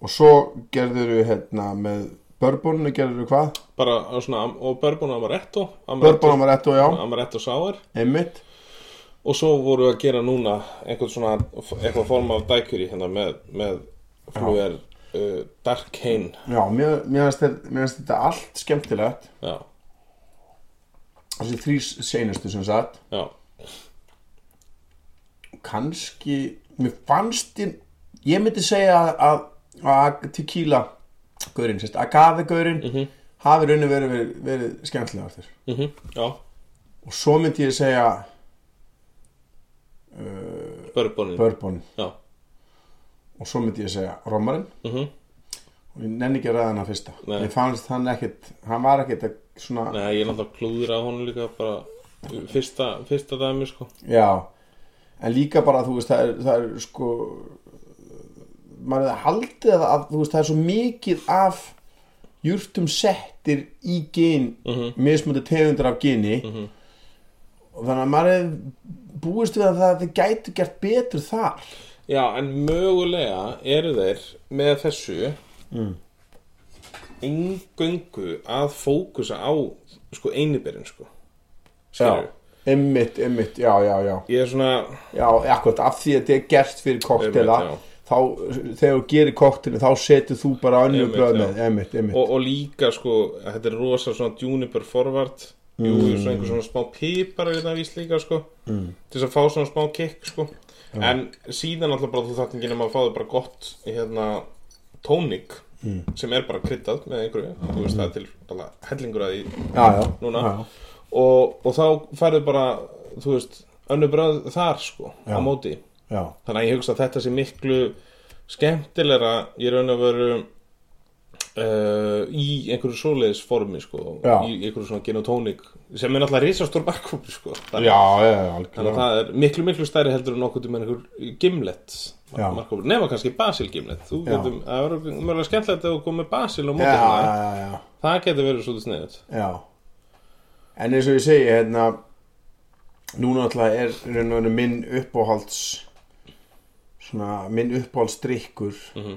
B: og svo gerður hérna, með börbónu gerður hvað?
A: bara á svona, am- og börbun amaretto
B: Börbónu var rétt og já,
A: amaretto sour
B: einmitt
A: og svo voru að gera núna einhvern svona, eitthvað form af dækuri hérna með, með fluger uh, Dark Hain
B: Já, mér, mér finnst þér- mér finnst þetta allt skemmtilegt
A: já,
B: þessi þrýr seinustu sem sagt
A: já,
B: kannski, mér fannst ég, ég myndi segja að, að tequila gaurinn, sérst, agave gaurinn hafi raun og verið, verið, verið skemmtilega aftur
A: mm já,
B: og svo myndi ég segja uh,
A: börbunin
B: bourbon
A: já,
B: og svo myndi ég segja romarinn
A: mm
B: og ég nenni ekki að ræða hann að fyrsta
A: Nei.
B: mér fannst hann ekkit, hann var ekkit að svona,
A: Nei, ég er náttúrulega klúður á honum líka bara uh, fyrsta, fyrsta dæmi sko
B: já en líka bara þú veist, það er, það er sko maður hefði haldið að, að þú veist, það er svo mikið af jurtum settir í gin
A: Mhm.
B: mismunandi tegundur af gini
A: Mhm.
B: og þannig að maður hefði búist við að það þið gætu gert betur þar
A: Já, en mögulega eru þeir með þessu engöngu að fókusa á sko einiberin sko Skilurðu?
B: einmitt, einmitt, já, já, já
A: Ég er svona
B: já, akkurat, af því að þetta er gert fyrir koktela
A: Einmitt, já.
B: þá, þegar þú gerir koktela þá setur þú bara önnur
A: Einmitt,
B: blöð
A: já.
B: með, einmitt, einmitt
A: og, og líka sko, að þetta er rosa svona juniper forward jú, svona einhver svona smá pípar er þetta víst líka sko mm. til þess að fá svona smá kick sko en síðan alltaf bara þú þarft ekki nema að fá þau bara gott hérna tónik sem er bara kryddað með einhverju þú veist það er til bara hellingur að því
B: já, já,
A: núna
B: já, já.
A: og, og þá færðu bara þú veist, önnu bröð þar sko á
B: Já.
A: móti,
B: já,
A: þannig að ég hugsa að þetta sé miklu skemmtilegra í raun og veru uh, í einhverju svoleiðis formi sko,
B: Já.
A: í einhverju svona genotónik sem er náttúrulega risastór markkópi sko. Þannig-
B: já, já,
A: Þannig að
B: algjörlega
A: það er miklu, miklu stærri heldur en okkur með einhver gimlet
B: Já.
A: markhópur, nema kannski Basil gimlet þú
B: Já.
A: getum, það verður mjög skemmtilegt að þú komið Basil á
B: já,
A: mótið
B: já, já, já
A: það getur verið svolítið sniðut
B: Já En eins og ég segi hérna Núna alltaf er raun og veru minn uppáhalds Svona minn uppáhaldsdrykkur
A: Mhm.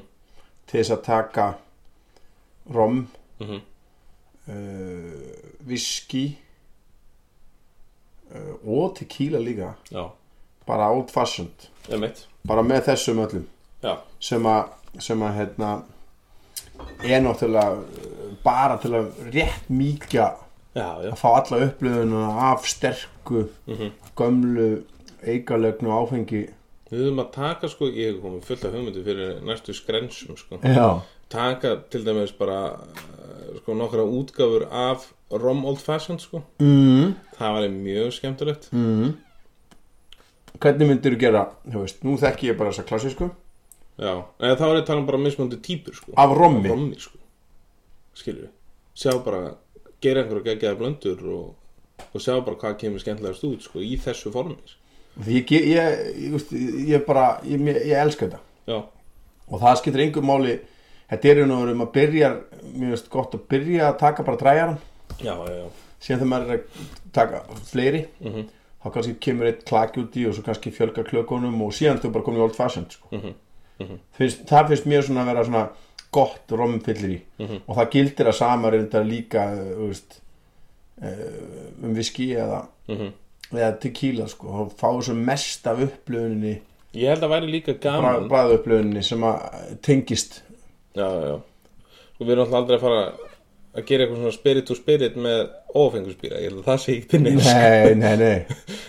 B: Til þess að taka Rom
A: Mhm.
B: uh, Viski uh, Og tequila líka
A: já,
B: Bara old fashioned
A: er mitt
B: Bara með þessum öllum
A: já,
B: sem að sem að hérna er náttúrulega uh, bara til að rétt mýkja
A: já, já,
B: að fá alla upplöðuna af sterku gömlu eigalögn og áfengi
A: við höfum að taka sko ég hef komið fullt af hugmyndu fyrir næstu skrensum sko.
B: já,
A: taka til dæmis bara eh, sko nokkra útgáfur af Rom Old Fashioned sko
B: mm.
A: það væri mjög skemmtilegt
B: hvernig myndir þú gera þú veist, nú þekki ég bara þessa klassísku
A: já, eða þá er ég að tala um bara mismöndi típur sko
B: af rommi,
A: rommi sko. skilur við sjá bara, gera einhverja geggjaða blöndur og, og sjá bara hvað kemur skemmtilegast út sko, í þessu formi sko.
B: því ég, ég, ég, ég, veist, ég bara, ég, ég, ég elska þetta
A: já,
B: og það skiptir engum máli þetta er nú um að byrja mér veist gott að byrja að taka bara dræjaran
A: já, já, já.
B: síðan þegar maður er að taka fleiri þá kannski kemur eitt klaki út í og svo kannski fjölgar klökunum og síðan þú bara komin í old fashioned sko. finnst, það finnst mér svona að vera svona gott romfyllir í og það gildir að sama reyndar líka uh, þú veist, uh, um viski eða,
A: Mhm.
B: eða tequila sko. og fá svo mest af upplöfuninni
A: ég held að væri líka gaman
B: bræðu upplöfuninni sem að tengist
A: já, já, já sko, við erum alltaf aldrei að fara að gera eitthvað svona spirit to spirit með ófengusbýra, ég held að það sé ekki til neins
B: nei, nei, nei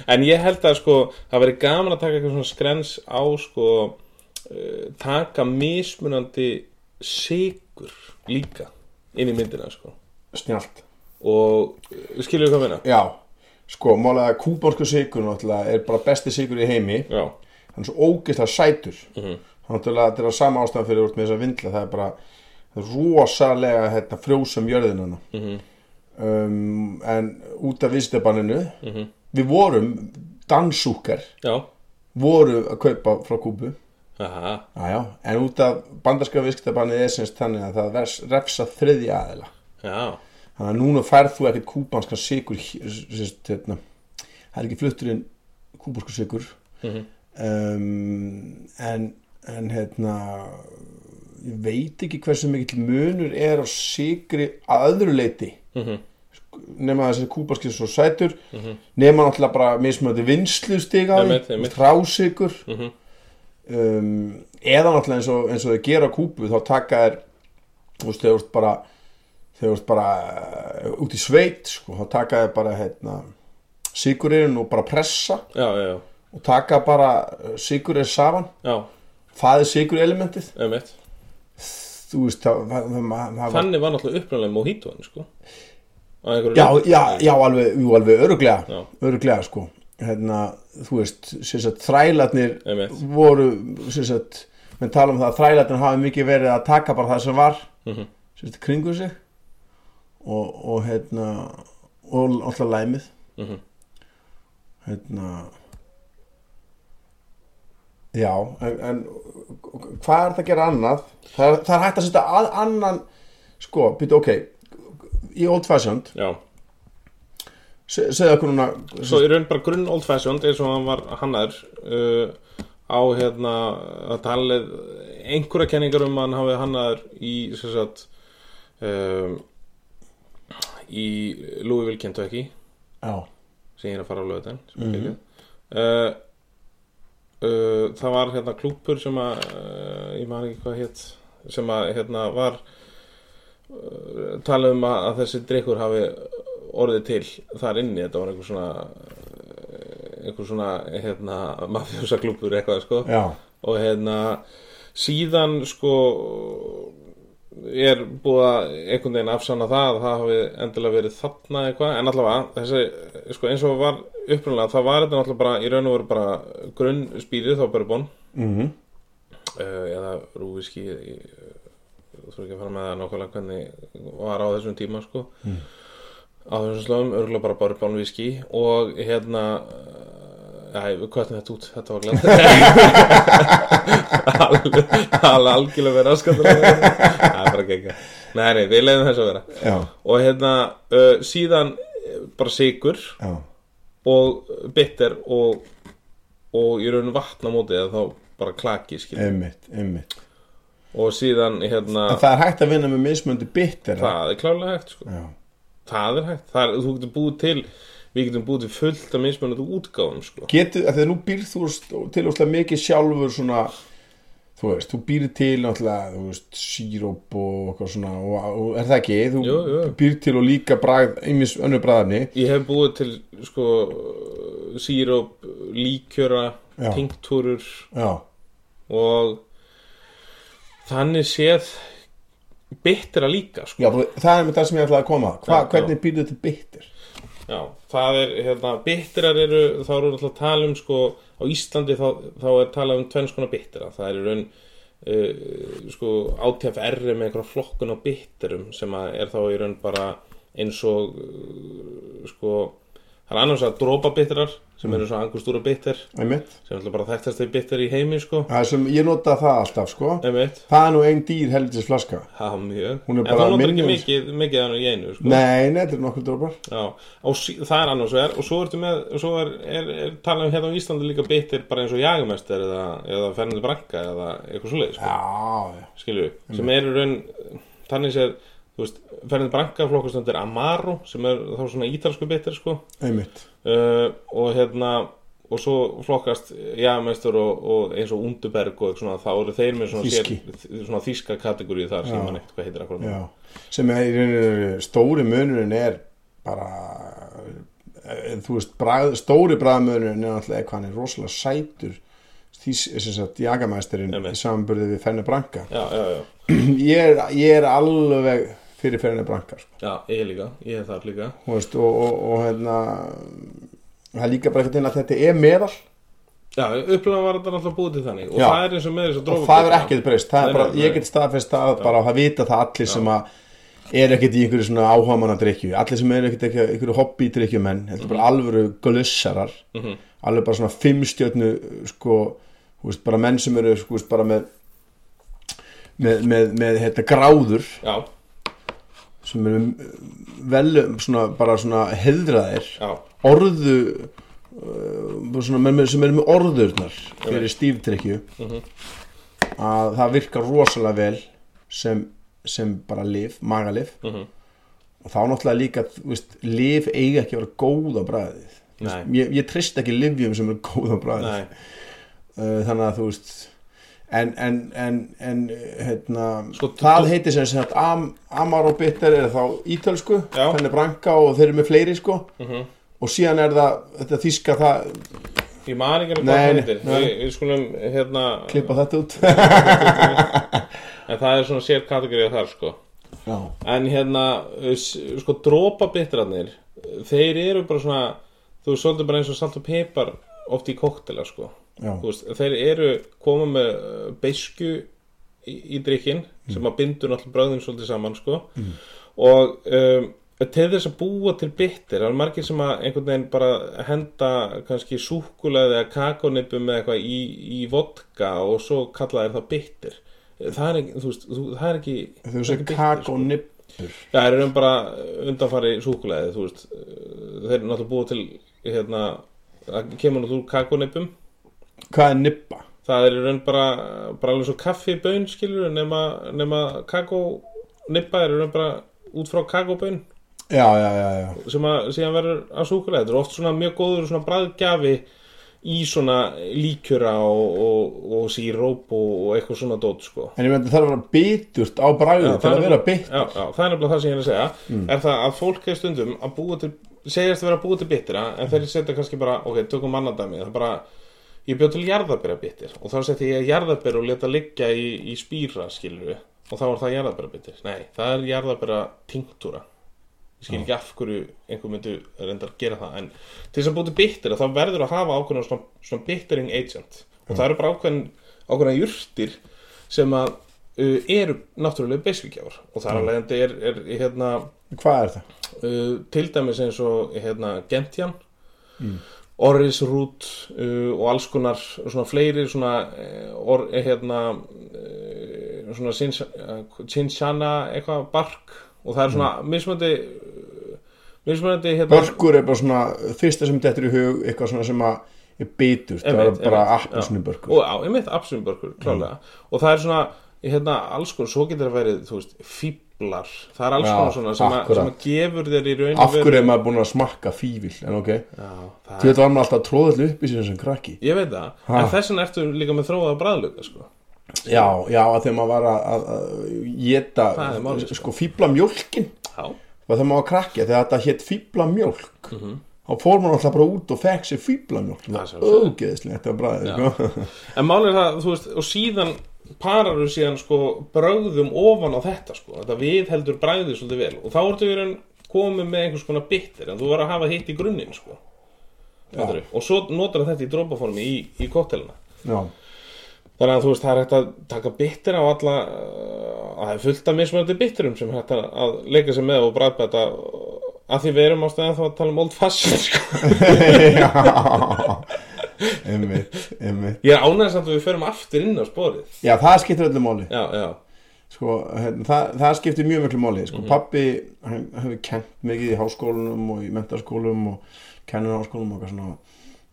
A: en ég held að sko, það væri gaman að taka eitthvað svona skrens á sko, eh, taka mismunandi sigur líka inn í myndina sko.
B: snjált
A: og uh, skilur við hvað meina
B: já, sko, málega að kúbánsku sigur náttúrulega er bara besti sigur í heimi
A: já,
B: hann er svo ógeðslega sætur mm -hmm. náttúrulega þetta er að sama ástæðan fyrir úr með þessa vindla, það er bara rosalega hérna, frjósum jörðinana mm -hmm. um, en út af viðstabanninu við vorum dansúkar
A: já,
B: voru að kaupa frá kúbu
A: aha
B: Jájá, en út af bandarska viðskiptabannið er semst þannig að það vers, refsa þriðja aðila
A: já,
B: þannig að núna færð þú ekkert kúbanskan sigur sérst, hérna, það er ekki fluttur inn kúbansku sigur
A: Mhm.
B: um, en, en hérna ég veit ekki hversu mikill munur er á sigri að öðru leiti
A: Mhm.
B: Sk- nema þessi kúbanski er svo sætur nema náttúrulega bara mismöndi vinslu stiga
A: Einmitt, einmitt.
B: trásigur
A: Mhm.
B: um, eða náttúrulega eins og, eins og þau gera á kúbu þá taka þær þú veist, þegar þú ert bara þegar þú ert bara uh, út í sveit sko, þá taka þér bara hérna, sigurinn og bara pressa
A: já, já, já,
B: og taka bara sigurinn saman
A: já,
B: það er sigur elementið
A: einmitt
B: þú veist, það, það, það, það, það var
A: þannig var náttúrulega uppræðanlega mojitoan sko á einhverju
B: já,
A: leyti.
B: já, já, alveg, jú, alveg öruglega,
A: Já.
B: öruglega sko hérna, þú veist, sem sagt þrælarnir
A: Einmitt.
B: voru sem sagt, menn tala um það að þrælarnir hafi mikið verið að taka bara það sem var
A: Mhm.
B: sem sagt, kringu sig og, og hérna og alltaf læmið
A: Mhm.
B: hérna já, en, en hvað er það að gera annað það er, það er hægt að setja að, annan sko, býta, ok í old fashioned,
A: já,
B: se- segðu okkur núna
A: svo í raun bara grunn old fashioned eins og hann var hannar uh, á hérna að talið einhverja kenningar um að hann hafi hannar í sem sagt um, í Louisville Kentucky
B: já,
A: sem ég er að fara á lögutin mm -hmm. uh, uh, það var hérna klúpur sem að uh, ég maður ekki hvað hétt sem að hérna var uh, talað um að, að þessi drikkur hafi orðið til þar inni þetta var einhver svona uh, einhver svona hérna mafjósa klúpur eitthvað sko
B: já,
A: og hérna síðan sko er búið að einhvern veginn afsanna það að það hafi endilega verið þarna eitthvað en allavega þessi sko eins og var upprunalega þá var þetta náttúrulega bara í raun og veru bara grunnspýrið þá bourbon
B: mhm
A: uh, eða rúviski þú er ekki að fara með það nákvæmlega hvernig var á þessum tíma sko á þessum slóðum, örgulega bara bara bán viski og hérna eh, Æ, við kvötum þetta út, þetta var glæð Það er algjörlega verið aðskattulega Það er bara gegga Nei, nei, við leiðum þess að vera
B: Já.
A: Og hérna, uh, síðan eh, bara sigur
B: já,
A: og bitter og, og í raun vatna móti eða þá bara klaki skil
B: einmitt, einmitt
A: og síðan hérna
B: En
A: það,
B: það er hægt að vinna með mismöndi bitter
A: er klálega hægt sko.
B: Já,
A: það er hægt, það er, þú getur búið til við getum búið til fullt af mismunandi útgáfum sko.
B: getur, að því að nú býr þú st- til óslega mikið sjálfur svona þú veist, þú býr til náttúrulega, þú veist, síróp og eitthvað svona, og, og er það ekki þú
A: Jú, jú.
B: býr til og líka bragð einmis önnur bragðarni
A: ég hef búið til sko síróp, líkjöra
B: Já.
A: tinktúrur
B: já,
A: og þannig séð bittera líka sko.
B: já, þú- það er með það sem ég ætlaði að koma Hva,
A: Já, já.
B: hvernig býr þetta bitter
A: Já, það er, hérna, bitterar eru, þá eru alltaf að tala um, sko, á Íslandi þá, þá er talað um tvenns konar bittera. Það er í raun, uh, sko, ATFR er með einhverja flokkun á bitterum sem að er þá í raun bara eins og, uh, sko, það er annars að dropa bitterar
B: Mm.
A: sem eru eins og angustúra bitter
B: einmitt,
A: sem er alltaf bara þekktast þeir bitter í heimi, sko.
B: það er sem ég nota það alltaf, sko
A: Einmitt,
B: það er nú einn dýr helvitis flaska
A: það er mjög.
B: Hún
A: En
B: er bara
A: það notar ekki
B: minni-
A: mikið, mikið þannig í einu, sko.
B: nei, nei, þetta er nokkur dropar
A: Já, og sí, það er annars vegar og svo, ertu með, svo er, er, er talað um hérna á Íslandi líka bittir bara eins og jagumester eða, eða fernandi branka eða eitthvað svoleið, sko,
B: já, já,
A: skilju sem er í raun, þannig séð þú veist, fernandi branka flokkustöndir Amaro sem er þá svona ítalsku bittir sko,
B: einmitt
A: uh, og hérna og svo flokkast jagumester og, og eins og Unduberg og eitthvað svona, þá eru þeir með svona,
B: Þýski.
A: sér, svona þýska kategóri þar sem
B: Já.
A: mann eitthvað heitir akkur
B: já, sem er í rauninu stóri munurinn er bara eh, þú veist, bragð, stóri bræðmunurinn er náttúrulega hvað hann er rosalega sætur því sem sagt jagamæsterinn
A: Einmitt.
B: í samanburði við Fenni Branka
A: já, já, já,
B: ég er, ég er alveg fyrir Fenni Branka sko.
A: já, ég líka, ég er þar líka
B: Þú veist, og, og, og hérna það er líka bara eitthvað að þetta er meðal
A: Já, upplifan var þetta alltaf búið til þannig og
B: Já.
A: það er eins og með þess að
B: og
A: drófa
B: það er ekkert breyst það
A: Nei,
B: er bara,
A: nei, nei.
B: ég get staðfest að bara að vita það allir sem að er ekkert í einhverju svona áhugamanna drikju allir sem er ekkert ekki, einhverju hobby drikkjumenn heldur
A: Mhm.
B: bara alvöru glössarar alveg bara svona fimmstjörnu sko, þú veist, bara menn sem eru sko, þú veist, bara með með, með, með hérna, gráður
A: Já,
B: sem eru vel svona, bara svona heiðraðir
A: já,
B: orðu uh, svona, menn með, sem eru með orðurnar fyrir stífdrykju
A: Mhm.
B: að það virkar rosalega vel sem, sem bara lif, magalif
A: Mhm.
B: og þá náttúrulega líka þú veist, lif eiga ekki að vera góð á bræðið Þú veist,
A: Nei.
B: ég, ég trist ekki lifjum sem eru góð á bræðið
A: nei,
B: uh, þannig að þú veist en, en, en, en uh, hérna,
A: Sko,
B: það
A: þú-
B: heitir sem sagt Am, Amaro Bitter er þá ítölsku
A: Já.
B: þannig branka og þeir eru með fleiri sko
A: Mhm.
B: og síðan er það þetta þýska það,
A: ég man ekki alveg
B: Nei,
A: hvað það
B: nei,
A: heitir
B: nei.
A: Við við skulum, hérna
B: klippa þetta út
A: En það er svona sér kategórið þar, sko
B: já,
A: En hérna, s- sko, drópa bitrarnir Þeir eru bara svona Þú veist, svolítið bara eins og salt og pepar Oft í koktela, sko
B: já,
A: Þú veist, Þeir eru koma með uh, beisku í, í drikkin sem að bindur náttúrulega bröðin svolítið saman sko. og um, til þess að búa til bitter það er margir sem að einhvern veginn bara henda kannski súkkulaði eða kakónipum eða eitthvað í, í vodka og svo kalla þeir það bitter það er ekki, þú veist, þú, það er ekki
B: þau
A: það er
B: segja
A: ekki bitter,
B: kakó
A: sko.
B: nippur
A: Já, það er um bara undanfari súkkulaði þú veist, þeir eru náttúrulega búa til hérna, það kemur náttúrulega úr kakónipum
B: hvað er nippa?
A: það er í raun bara, bara alveg svo kaffibön skilur nema, nema kakó nippa er í raun bara út frá kakóbön
B: já, já, já, já,
A: sem að síðan verður að súkulega þetta er oft svona mjög góður svona bræðgjafi í svona líkjöra og, og, og síróp og, og eitthvað svona dót sko
B: en ég meðan það þarf að vera biturt á bræðið til að
A: er
B: vera Mm.
A: nefnilega-
B: bitt
A: já, já, það er nefnilega það sem ég er að segja er það að fólk er stundum að búa til segjast að vera að búa til bitira en þeir setja kannski bara, ok, tökum mannadæmi það er bara, ég bjóð til jarðabera bitir og þá setja ég jarðabera og leta liggja í, í spýra, skilur við og þá er það jarðabera bitir, nei, það er jarðabera tinktúra ég skil ekki af hverju einhver myndu reyndar að gera það en til þess að búið til bitter þá verður að hafa ákveðna svona, svona bittering agent og það eru bara ákveðin, ákveðna jurtir sem að uh, eru náttúrulega beiskjugjár og þar alveg þetta er, er hérna,
B: Hvað er það?
A: uh, til dæmis eins og hérna, Gentian mm. Orrisrút uh, og alls konar svona fleiri svona, eh, or, eh, hérna, uh, svona Chins- eh, Chinchana eitthvað bark og það er svona
B: Mm.
A: mismöndi mismöndi hérna,
B: Börkur er bara svona fyrsta sem dettur í hug eitthvað svona sem að er bitur það er
A: Einmitt,
B: bara
A: einmitt,
B: Mm. appelsinu börkur
A: og á, einmitt absumburgur, klálega og það er svona, hérna, alls konar svo getur það verið, þú veist, fíblar það er alls
B: Já,
A: konar svona sem, að,
B: akkurat.
A: sem að gefur þér í raun
B: Af hverju er maður búin að smakka fífil en ok,
A: Já, það
B: þú veit var maður alltaf tróðall upp í sér sem krakki
A: Ég veit það,
B: Ha.
A: en þess vegna ertu líka með þróaða bræðluga, sko
B: Já, já, að þegar maður var að- að að geta,
A: Það er málið, sko.
B: sko, fíbla mjólkin
A: Já,
B: var þegar maður var krakki, þegar þetta hétt fíbla mjólk þá fór maður alltaf bara út og fekk sér fíbla mjólk
A: Mhm. Það er
B: það var
A: sjálfsagt.
B: ógeðislega, þetta var bræðið sko.
A: en málið er það, þú veist, og síðan parar þú síðan, sko, brögðum ofan á þetta, sko, þetta viðheldur bræðið svolítið vel og þá ertu í raun komið með einhvers konar bitter, en þú var að hafa hitt í grunninn, sko Fattarðu? og svo notar þetta í dropaformi í, í koktelina
B: Já,
A: Þannig að þú veist, það er hægt að taka bitter á alla uh, það er fullt af mismunandi bitterum sem er hægt að- að leika sér með og bræðbæta að því við erum á stæðan þá að tala um old fashion sko.
B: já einmitt, einmitt
A: Ég er ánægðis að við förum aftur inn á sporið
B: Já, það skiptir öllu máli
A: Já, já,
B: sko, hérna, það, það skiptir mjög miklu máli
A: Mhm.
B: sko, pappi, hann hefur kent mikið í háskólanum og í mentaskólum og kennarháskólum og eitthvað svona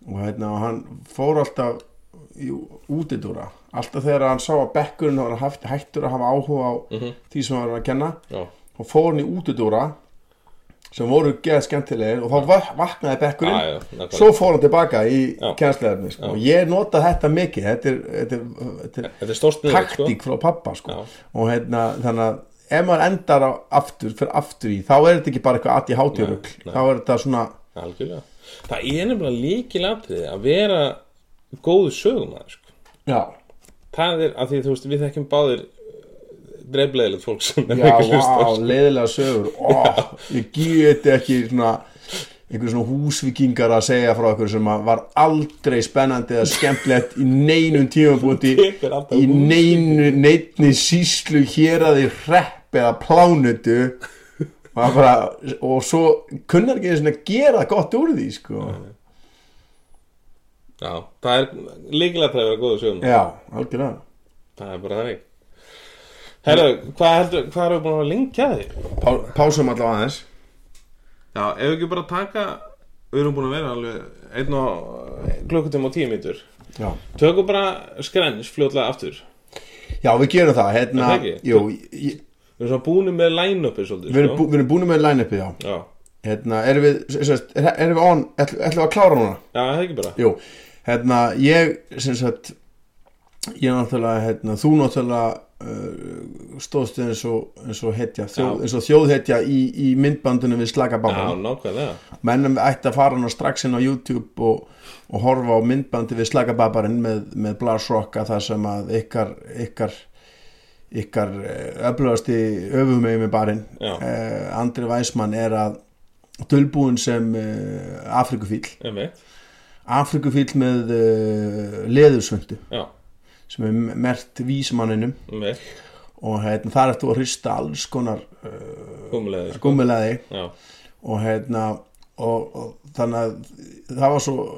B: og hérna, og hann fór alltaf í útidúra alltaf þegar hann sá að bekkurinn var haft, hættur að hafa áhuga á
A: Mhm.
B: því sem hann var að kenna
A: já,
B: og fór hann í útidúra sem voru geða skemmtilegir og þá vak- vaknaði bekkurinn
A: Ah, já, já nákvæmlega.
B: svo fór hann tilbaka í
A: Já.
B: kennslegarni sko.
A: Já.
B: og ég nota þetta mikið þetta er, þetta er, þetta er
A: Þetta er stórt niður
B: taktík frá pappa sko.
A: Já.
B: og hérna þannig að ef maður endar á aftur fyrir aftur í þá er þetta ekki bara eitthvað aðti hátíðurugl
A: Nei, nei.
B: þá er þetta svona
A: sko. Algjörlega Það er nefnilega líkilatriði að vera góðu sögumæður sko.
B: já,
A: Það er að því þú veist, við þekkjum báðir dreiflegilegt fólk sem er
B: já,
A: ekki að hlusta,
B: vá, leiðilega sögur oh, ég geti ekki svona einhver svona húsvikingar að segja frá okkur sem að var aldrei spennandi eða skemmtlegt í neinum tímabúti
A: Tekur alltaf
B: í neinu, neitni síslu hér að því hrepp eða plánutu og, það bara, og svo kunnar ekki þess að gera gott úr því sko.
A: Já, það er líkilatriði að vera góðu sögumæður
B: Já, algjörlega
A: Það er bara þannig Herru, hvað heldur, hvað erum við búin að vera lengi að því?
B: Pá, Pásum allavega aðeins
A: Já, ef við ekki bara taka Við erum búin að vera alveg einn og klukkutum og tíu mítur
B: Já,
A: Tökum bara skrens fljótlega aftur Við
B: já við gerum það hérna,
A: Er það ekki?
B: jú, ég,
A: erum svona búin með line-upi svolítið sko.
B: við, erum bú, við erum búin með line-upið já.
A: Já,
B: hérna, Erum við, sem sagt, er- erum við on ætlum ætlum við að klára núna?
A: já, það er ekki bara
B: Jú, hérna, ég sem sagt ég náttúrulega, hérna, þú náttúrulega uh, stóðst eins og eins og hetja, þjóð,
A: Já.
B: eins og þjóðhetja í, í myndbandunum við
A: Já,
B: slagabáman
A: nákvæmlega
B: mennum ætti að fara nú strax inn á YouTube og, og horfa á myndbandi við slagababarinn með, með blasrocka þar sem að ykkar ykkar ykkar eh, öflugasti öfumegi með barinn
A: Já.
B: uh, Andri Væsmann er að dölbúin sem uh, Afrikufíl
A: Einmitt,
B: Afrikufíl með uh, leðursvöndu
A: já,
B: sem er mert vísmanninum
A: einmitt
B: og hérna, þar ertu að hrista alls konar uh,
A: Gúmulegði, sko
B: gummilaði
A: Já,
B: og hérna og, og þannig að það var svo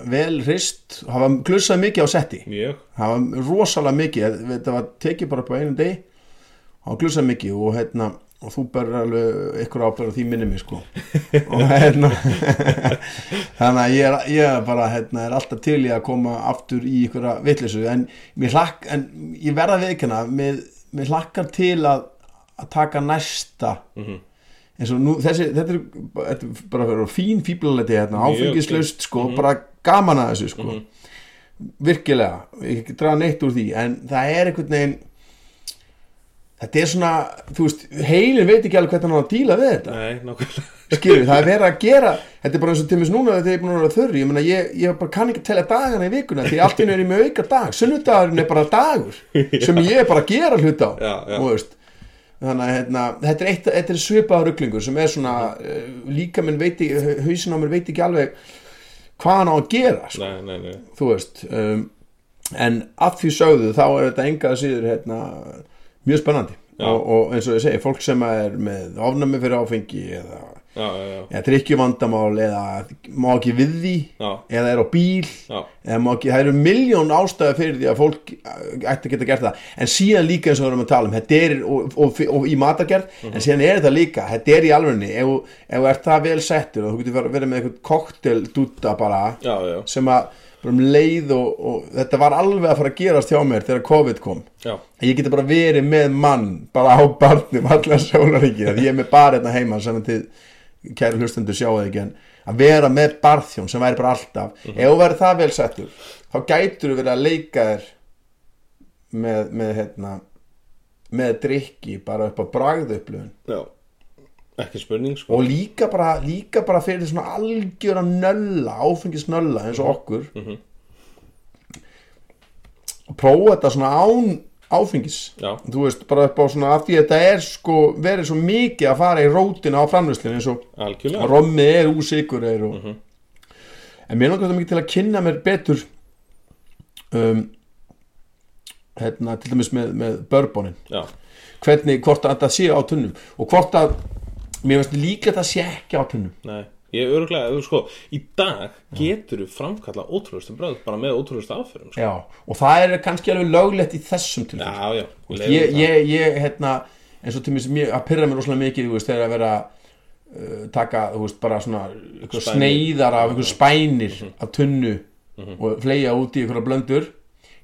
B: vel hrist það var glussað mikið á setti
A: mjög
B: það var rosalega mikið þetta var tekið bara upp á einum degi það var glussað mikið og hérna og þú berur alveg ykkur ábæður því minni mig sko og hérna þannig að ég er, ég er bara hérna er alltaf til í að koma aftur í ykkur að vitleysu en, mér hlakk, en ég verða veikina mér, mér hlakkar til að, að taka næsta eins og nú þessi, þetta er, þetta er bara fyrir fín fíblaleti hérna,
A: Mjög
B: áfengislaust sko, bara gaman að þessu sko virkilega, ég ekki draga neitt úr því en það er einhvern veginn þetta er svona þú veist, heilin veit ekki alveg hvernig hann á að díla við þetta
A: Nei, nákvæmlega
B: skilur, það er verið að gera þetta er bara eins og tímis núna þegar ég er búin að vera þurri ég, meina, ég, ég bara kann ekki að tella dagana í vikuna því allt í einu er ég með auka dag, sunnudagurinn er bara dagur sem ég er bara að gera hluta á
A: Já, já.
B: þú veist þannig að hérna, þetta, er eitt, þetta er svipaða ruglingur sem er svona uh, líka minn veit ekki, hausin á mér veit ekki alveg hvað hann á að gera sko,
A: Nei, nei, nei
B: þú veist um, en að því sögðu þá er þetta enga að síður hérna, mjög spennandi
A: Já.
B: og, og eins og ég segi, fólk sem er með ofnæmi fyrir áfengi eða,
A: já, já, já,
B: eða drikkjuvandamál eða má ekki við því
A: já,
B: eða er á bíl
A: já.
B: eða má ekki, það eru miljón ástæði fyrir því að fólk eh, ætti að geta gert það en síðan líka eins og við erum að tala um þetta er, og, og, og í matargerð
A: Mhm.
B: en síðan er þetta líka, þetta er í alvegni ef, þú- ef þú ert það vel settur og þú getur fara- verið með eitthvað koktel dúta bara
A: Já, já,
B: sem að bara um leið og, og þetta var alveg að fara að gerast hjá mér þegar COVID kom
A: já,
B: að ég geti bara verið með mann bara á barnum allan sólaríkir að ég er með bar hérna heima sem að þið kæru hlustundu sjáuð ekki en að vera með barþjón sem væri bara alltaf ef þú væri það vel settur þá gætur þú verið að leika þér með, með hérna með drikki bara upp á bragðupplöfun
A: já. Ekki spurning, sko.
B: og líka bara, líka bara fyrir svona algjöra nölla, áfengisnölla eins og okkur og prófa þetta svona án áfengis
A: Já.
B: þú veist, bara upp á svona að því þetta er sko verið svo mikið að fara í rótina á framlýslinu eins og
A: Algjörlega.
B: rommið er, úsikur er og... en mér langar þetta mikið til að kynna mér betur um, hérna, til dæmis með, með börbonin
A: Já,
B: hvernig, hvort að þetta sé á tunnum og hvort að, mér finnst líka að það sé ekki á tunnum
A: nei. Ég öruglega, þú sko, í dag getur þú framkalla ótrúlustu bröð bara með ótrúlustu aðferðum, sko.
B: Já. og það er kannski alveg löglegt í þessum tilfellum
A: Já, já.
B: ég, ég, ég, hérna eins og til mér, mér að pyrra mér rosalega mikið þú veist, þegar að vera uh, taka, þú veist, bara svona einhver
A: Spænir. Mhm.
B: sneiðar af einhver spænir af tunnu og fleja út í einhverja blöndur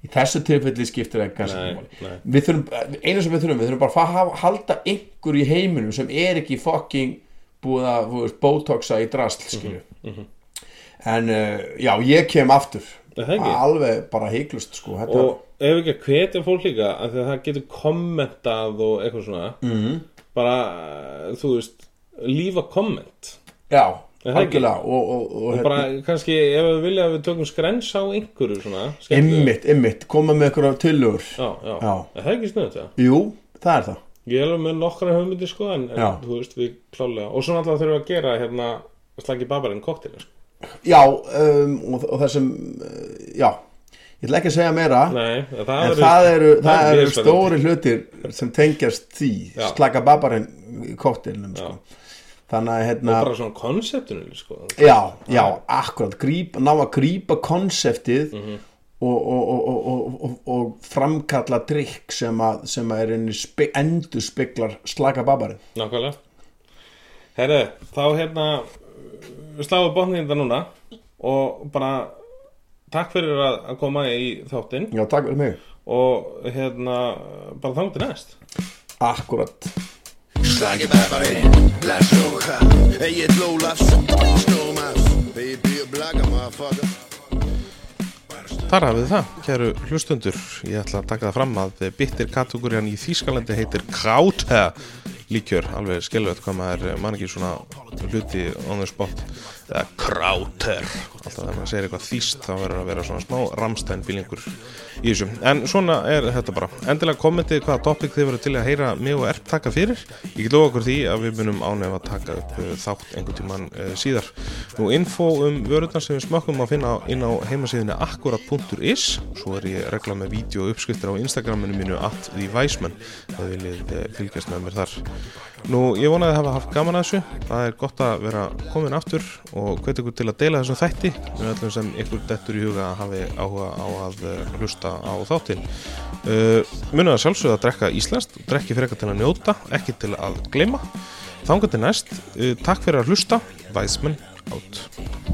B: í þessu tilfelli skiptir það kannski
A: Nei,
B: ekki
A: nei.
B: máli. við þurfum, einu sem við þurfum við þurfum bara að fá- hafa- halda einhverju í heiminum sem er ekki fucking búið að þú veist, botoxa í drasl
A: Mhm,
B: skilju en uh, já, ég kem aftur
A: Er það ekki?
B: alveg bara heiklust sko, þetta
A: og ef ekki að hvetja fólk líka af því að það getur kommentað og eitthvað svona
B: Mhm.
A: -hmm. bara, þú veist, lífa komment
B: Já,
A: Er það ekki?
B: algjörlega og, og, og,
A: og
B: hérna,
A: bara kannski ef við vilja að við tökum skrens á einhverju svona skemmtilegu.
B: Einmitt, einmitt, koma með einhverja tillögur
A: já, já,
B: Já.
A: Er það er ekki snöðt það
B: Jú, það er það
A: ég er alveg með nokkra höfmyndir sko en, en
B: Já.
A: þú veist, við klálega og svona alltaf þurfum við að gera hérna slagi babarinn kokteil sko.
B: Já, um, og, og það sem, uh, já Ég ætla ekki að segja meira
A: nei, það,
B: En
A: verður-
B: það eru,
A: er
B: það
A: mjög
B: eru
A: spennandi.
B: stóri hlutir sem tengjast því
A: Já.
B: Slaka babarinn kokteilnum sko. Þannig að hérna
A: bara svona konseptunum sko.
B: Já, já, akkurat gríp, Ná að grípa konseptið
A: Mhm.
B: og, og, og, og, og, og, og framkalla drikk sem að, sem að er enni spe, endur speklar slaka babarinn
A: nákvæmlega herru, þá hérna uh, sláum við botnið þetta núna og bara takk fyrir að, að koma í þáttinn
B: Já, takk fyrir mig
A: og hérna bara þangum til næst
B: Akkurat
C: Slagi Bæfari, Lars Jóka Egil Ólafs, Snómas Baby og Blaga, motherfucker
D: Þar hafið þið það, kæru hlustundur Ég ætla að taka það fram að bitter kategórian í Þýskalandi heitir Krauta líkjör, alveg skelvöld hvað maður eh, man ekki svona hluti on the spot eða Krauter alltaf þegar maður segir eitthvað þýst þá verður að vera svona smá ramstæn fílingur í þessu en svona er þetta bara endilega kommentið hvaða topic þið verður til að heyra mig og erp taka fyrir ég get lofa okkur því að við munum ánef að taka upp eh, þátt einhvern tímann eh, síðar nú info um vörurnar sem við smakkum að finna inn á heimasíðinni akkurat.is svo er ég regla með vídeo uppskriftir á Instagraminu mínu at the Weisman það viljið eh, fylgjast með mér þar nú ég vonaði að hafa haft gaman að þessu það er gott að vera komin aftur og hvet ykkur til að deila þessum þætti með öllum sem ykkur dettur í huga að hafi áhuga á að eh, hlusta á þáttin uh, munið að sjálfsögða að drekka íslenskt drekki frekar til að njóta, ekki Eh, til að gleyma þangað til næst, uh, takk fyrir að hlusta Væsmenn átt